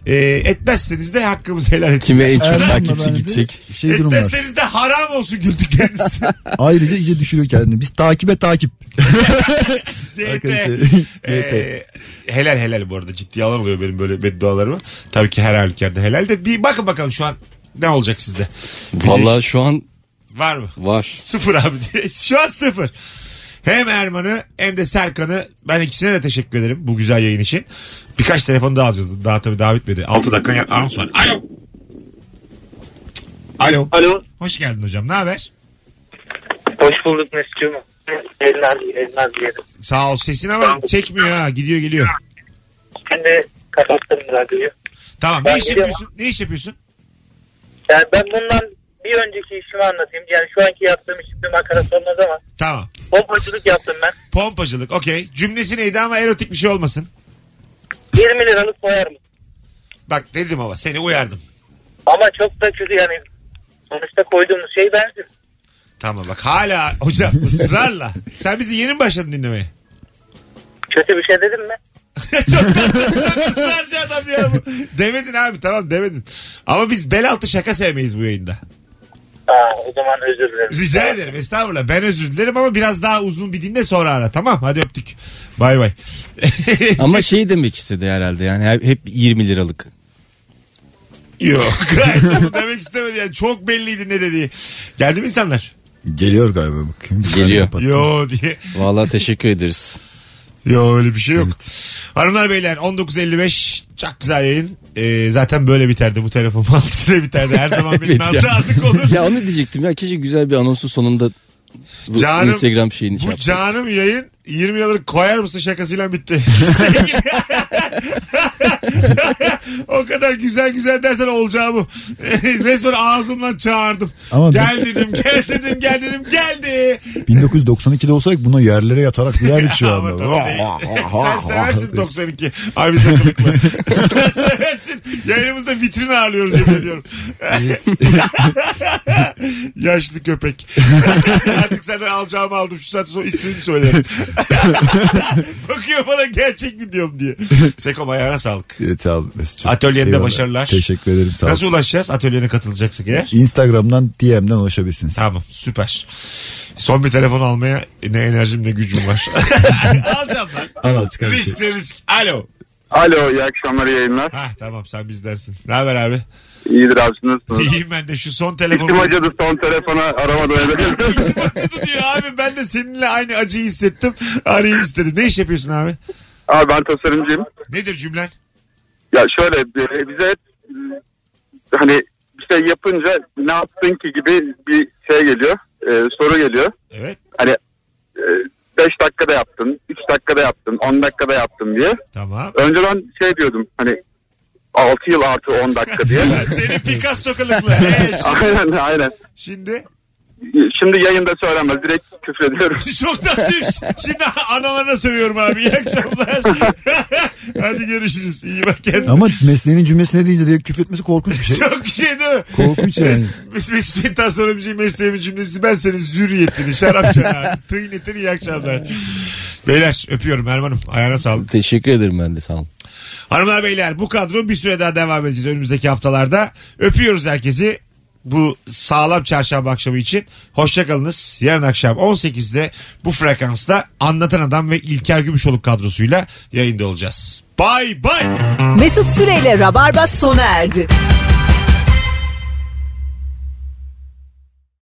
Speaker 2: e, etmezseniz de hakkımızı helal edin.
Speaker 4: kime en çok
Speaker 5: Erman'la
Speaker 4: takipçi
Speaker 5: bende
Speaker 4: gidecek.
Speaker 5: Şey durum var.
Speaker 2: [laughs] Etmezseniz de haram olsun güldükleriniz.
Speaker 5: Ayrıca iyice düşürüyor kendini. Biz takibe takip.
Speaker 2: CT.
Speaker 5: Arkadaşlar.
Speaker 2: Ee, helal helal bu arada ciddi alan oluyor benim böyle beddualarıma. Tabii ki her halükarda helal de bir bakın bakalım şu an ne olacak sizde. Bir-
Speaker 4: Vallahi şu an
Speaker 2: Var mı?
Speaker 4: Var.
Speaker 2: Sıfır abi. [laughs] Şu an sıfır. Hem Erman'ı hem de Serkan'ı ben ikisine de teşekkür ederim bu güzel yayın için. Birkaç telefon daha alacağız. Daha tabii daha bitmedi. 6 dakika ya- anons var. Alo. Alo.
Speaker 11: Alo.
Speaker 2: Hoş geldin hocam. Ne haber?
Speaker 11: Hoş bulduk Mesut'cum. Eller, eller diyelim.
Speaker 2: Sağ ol. Sesin ama çekmiyor ha. Gidiyor geliyor.
Speaker 11: Şimdi kapattım radyoyu.
Speaker 2: Tamam. Ne
Speaker 11: Ben
Speaker 2: iş
Speaker 11: geliyorum.
Speaker 2: yapıyorsun? Ne iş yapıyorsun?
Speaker 11: Yani ben bundan bir önceki işimi anlatayım. Yani şu anki yaptığım iş şimdi makara olmaz ama
Speaker 2: Tamam.
Speaker 11: pompacılık yaptım ben.
Speaker 2: Pompacılık. Okey. Cümlesi neydi ama erotik bir şey olmasın.
Speaker 11: 20 liralık koyar mı?
Speaker 2: Bak dedim ama seni uyardım.
Speaker 11: Ama çok da kötü yani. Sonuçta koyduğumuz şey bensin.
Speaker 2: Tamam bak hala hocam ısrarla. Sen bizi yeni mi başladın dinlemeye?
Speaker 11: Kötü bir şey dedim mi?
Speaker 2: çok, çok ısrarcı adam ya bu. Demedin abi tamam demedin. Ama biz bel altı şaka sevmeyiz bu yayında.
Speaker 11: Aa, o zaman özür dilerim.
Speaker 2: Rica ederim estağfurullah. Ben özür dilerim ama biraz daha uzun bir dinle sonra ara tamam. Hadi öptük. Bay [laughs] bay.
Speaker 4: Ama şey demek istedi herhalde yani hep- hep 20 liralık.
Speaker 2: [laughs] Yok. Gayet bunu demek istemedi yani. Çok belliydi ne dediği. Geldi mi insanlar?
Speaker 5: Geliyor galiba bakayım. Güzel
Speaker 4: Geliyor.
Speaker 5: kapattım.
Speaker 2: Yo diye.
Speaker 4: Vallahi teşekkür ederiz.
Speaker 2: Yo öyle bir şey yok. Hanımlar beyler 19.55 çok güzel yayın. Ee, zaten böyle biterdi bu telefon altısıyla biterdi. Her zaman benim
Speaker 4: [laughs] Evet
Speaker 2: [laughs]
Speaker 4: ya.
Speaker 2: evet olur.
Speaker 4: [laughs] ya onu diyecektim ya keşke güzel bir anonsu sonunda bu
Speaker 2: Canım,
Speaker 4: Instagram şeyini şey
Speaker 2: Bu
Speaker 4: yapsak.
Speaker 2: canım yayın 20 yıllık koyar mısın şakasıyla bitti. [laughs] o kadar güzel güzel dersen olacağı bu. [laughs] Resmen ağzımdan çağırdım.
Speaker 5: Ama
Speaker 2: gel dedim, gel dedim, gel dedim, geldi.
Speaker 5: 1992'de olsaydık buna yerlere
Speaker 2: [laughs]
Speaker 5: yatarak yerdik şu
Speaker 2: Ama
Speaker 5: anda.
Speaker 2: tabii değil.
Speaker 5: [laughs]
Speaker 2: Sen seversin 92. Abi sen kılıklı. Sen seversin. Yayınımızda vitrin ağırlıyoruz yemin ediyorum. [laughs] Yaşlı köpek. [laughs] Artık senden alacağımı aldım. Şu saatte sonra istediğimi söylerim. [laughs] Bakıyor bana gerçek mi diyorum diye. Sekom ayağına sağlık.
Speaker 5: Evet, al Mesut'cum.
Speaker 2: Atölyende
Speaker 5: Eyvallah.
Speaker 2: başarılar.
Speaker 5: Teşekkür ederim sağ
Speaker 2: Nasıl
Speaker 5: olsun.
Speaker 2: ulaşacağız? Atölyene katılacaksak eğer.
Speaker 5: Instagram'dan DM'den ulaşabilirsiniz.
Speaker 2: Tamam süper. Son bir telefon almaya ne enerjim ne gücüm
Speaker 5: [laughs]
Speaker 2: var. Alacağım lan.
Speaker 5: Al al çıkar. bir şey.
Speaker 2: Risk risk. Alo.
Speaker 10: Alo iyi akşamlar iyi yayınlar.
Speaker 2: Ha tamam sen bizdensin. Ne haber abi?
Speaker 10: İyidir abi siz nasılsınız?
Speaker 2: İyiyim ben de şu son
Speaker 10: İçim
Speaker 2: telefonu.
Speaker 10: acıdı son telefona aramadan öyle.
Speaker 2: [laughs] İçim acıdı diyor abi ben de seninle aynı acıyı hissettim. Arayayım istedim. Ne iş yapıyorsun abi?
Speaker 10: abi ben tasarımcıyım.
Speaker 2: Nedir cümlen?
Speaker 10: Ya şöyle e, bize e, hani bir şey yapınca ne yaptın ki gibi bir şey geliyor. e, soru geliyor.
Speaker 2: Evet
Speaker 10: Hani 5 dakikada yaptın, 3 dakikada yaptın, 10 dakikada yaptın diye.
Speaker 2: tamam.
Speaker 10: Önce ben şey diyordum hani 6 yıl artı 10
Speaker 2: [laughs]
Speaker 10: dakika diye.
Speaker 2: Seni Picasso kılıklı. Ee,
Speaker 10: aynen aynen.
Speaker 2: Şimdi? [laughs]
Speaker 10: Şimdi yayında söylenmez. Direkt küfrediyorum.
Speaker 2: Çok tatlıyım. Şimdi analarına sövüyorum abi. İyi akşamlar. [laughs] Hadi görüşürüz. İyi bak kendine.
Speaker 5: Ama mesleğinin cümlesine deyince direkt küfretmesi korkunç
Speaker 2: [laughs]
Speaker 5: bir şey.
Speaker 2: Çok şey değil mi?
Speaker 5: Korkunç yani.
Speaker 2: Mes- Mesut Bey'in tasarımcı şey mesleğimin cümlesi ben senin zürriyetini şarap şarap tıynetini iyi akşamlar. Beyler öpüyorum Erman'ım ayağına sağlık.
Speaker 9: Teşekkür ederim ben de sağ olun.
Speaker 2: Hanımlar beyler bu kadro bir süre daha devam edeceğiz önümüzdeki haftalarda. Öpüyoruz herkesi bu sağlam çarşamba akşamı için. Hoşçakalınız. Yarın akşam 18'de bu frekansta Anlatan Adam ve İlker Gümüşoluk kadrosuyla yayında olacağız. Bay bay.
Speaker 1: Mesut Süreyle Rabarba sona erdi.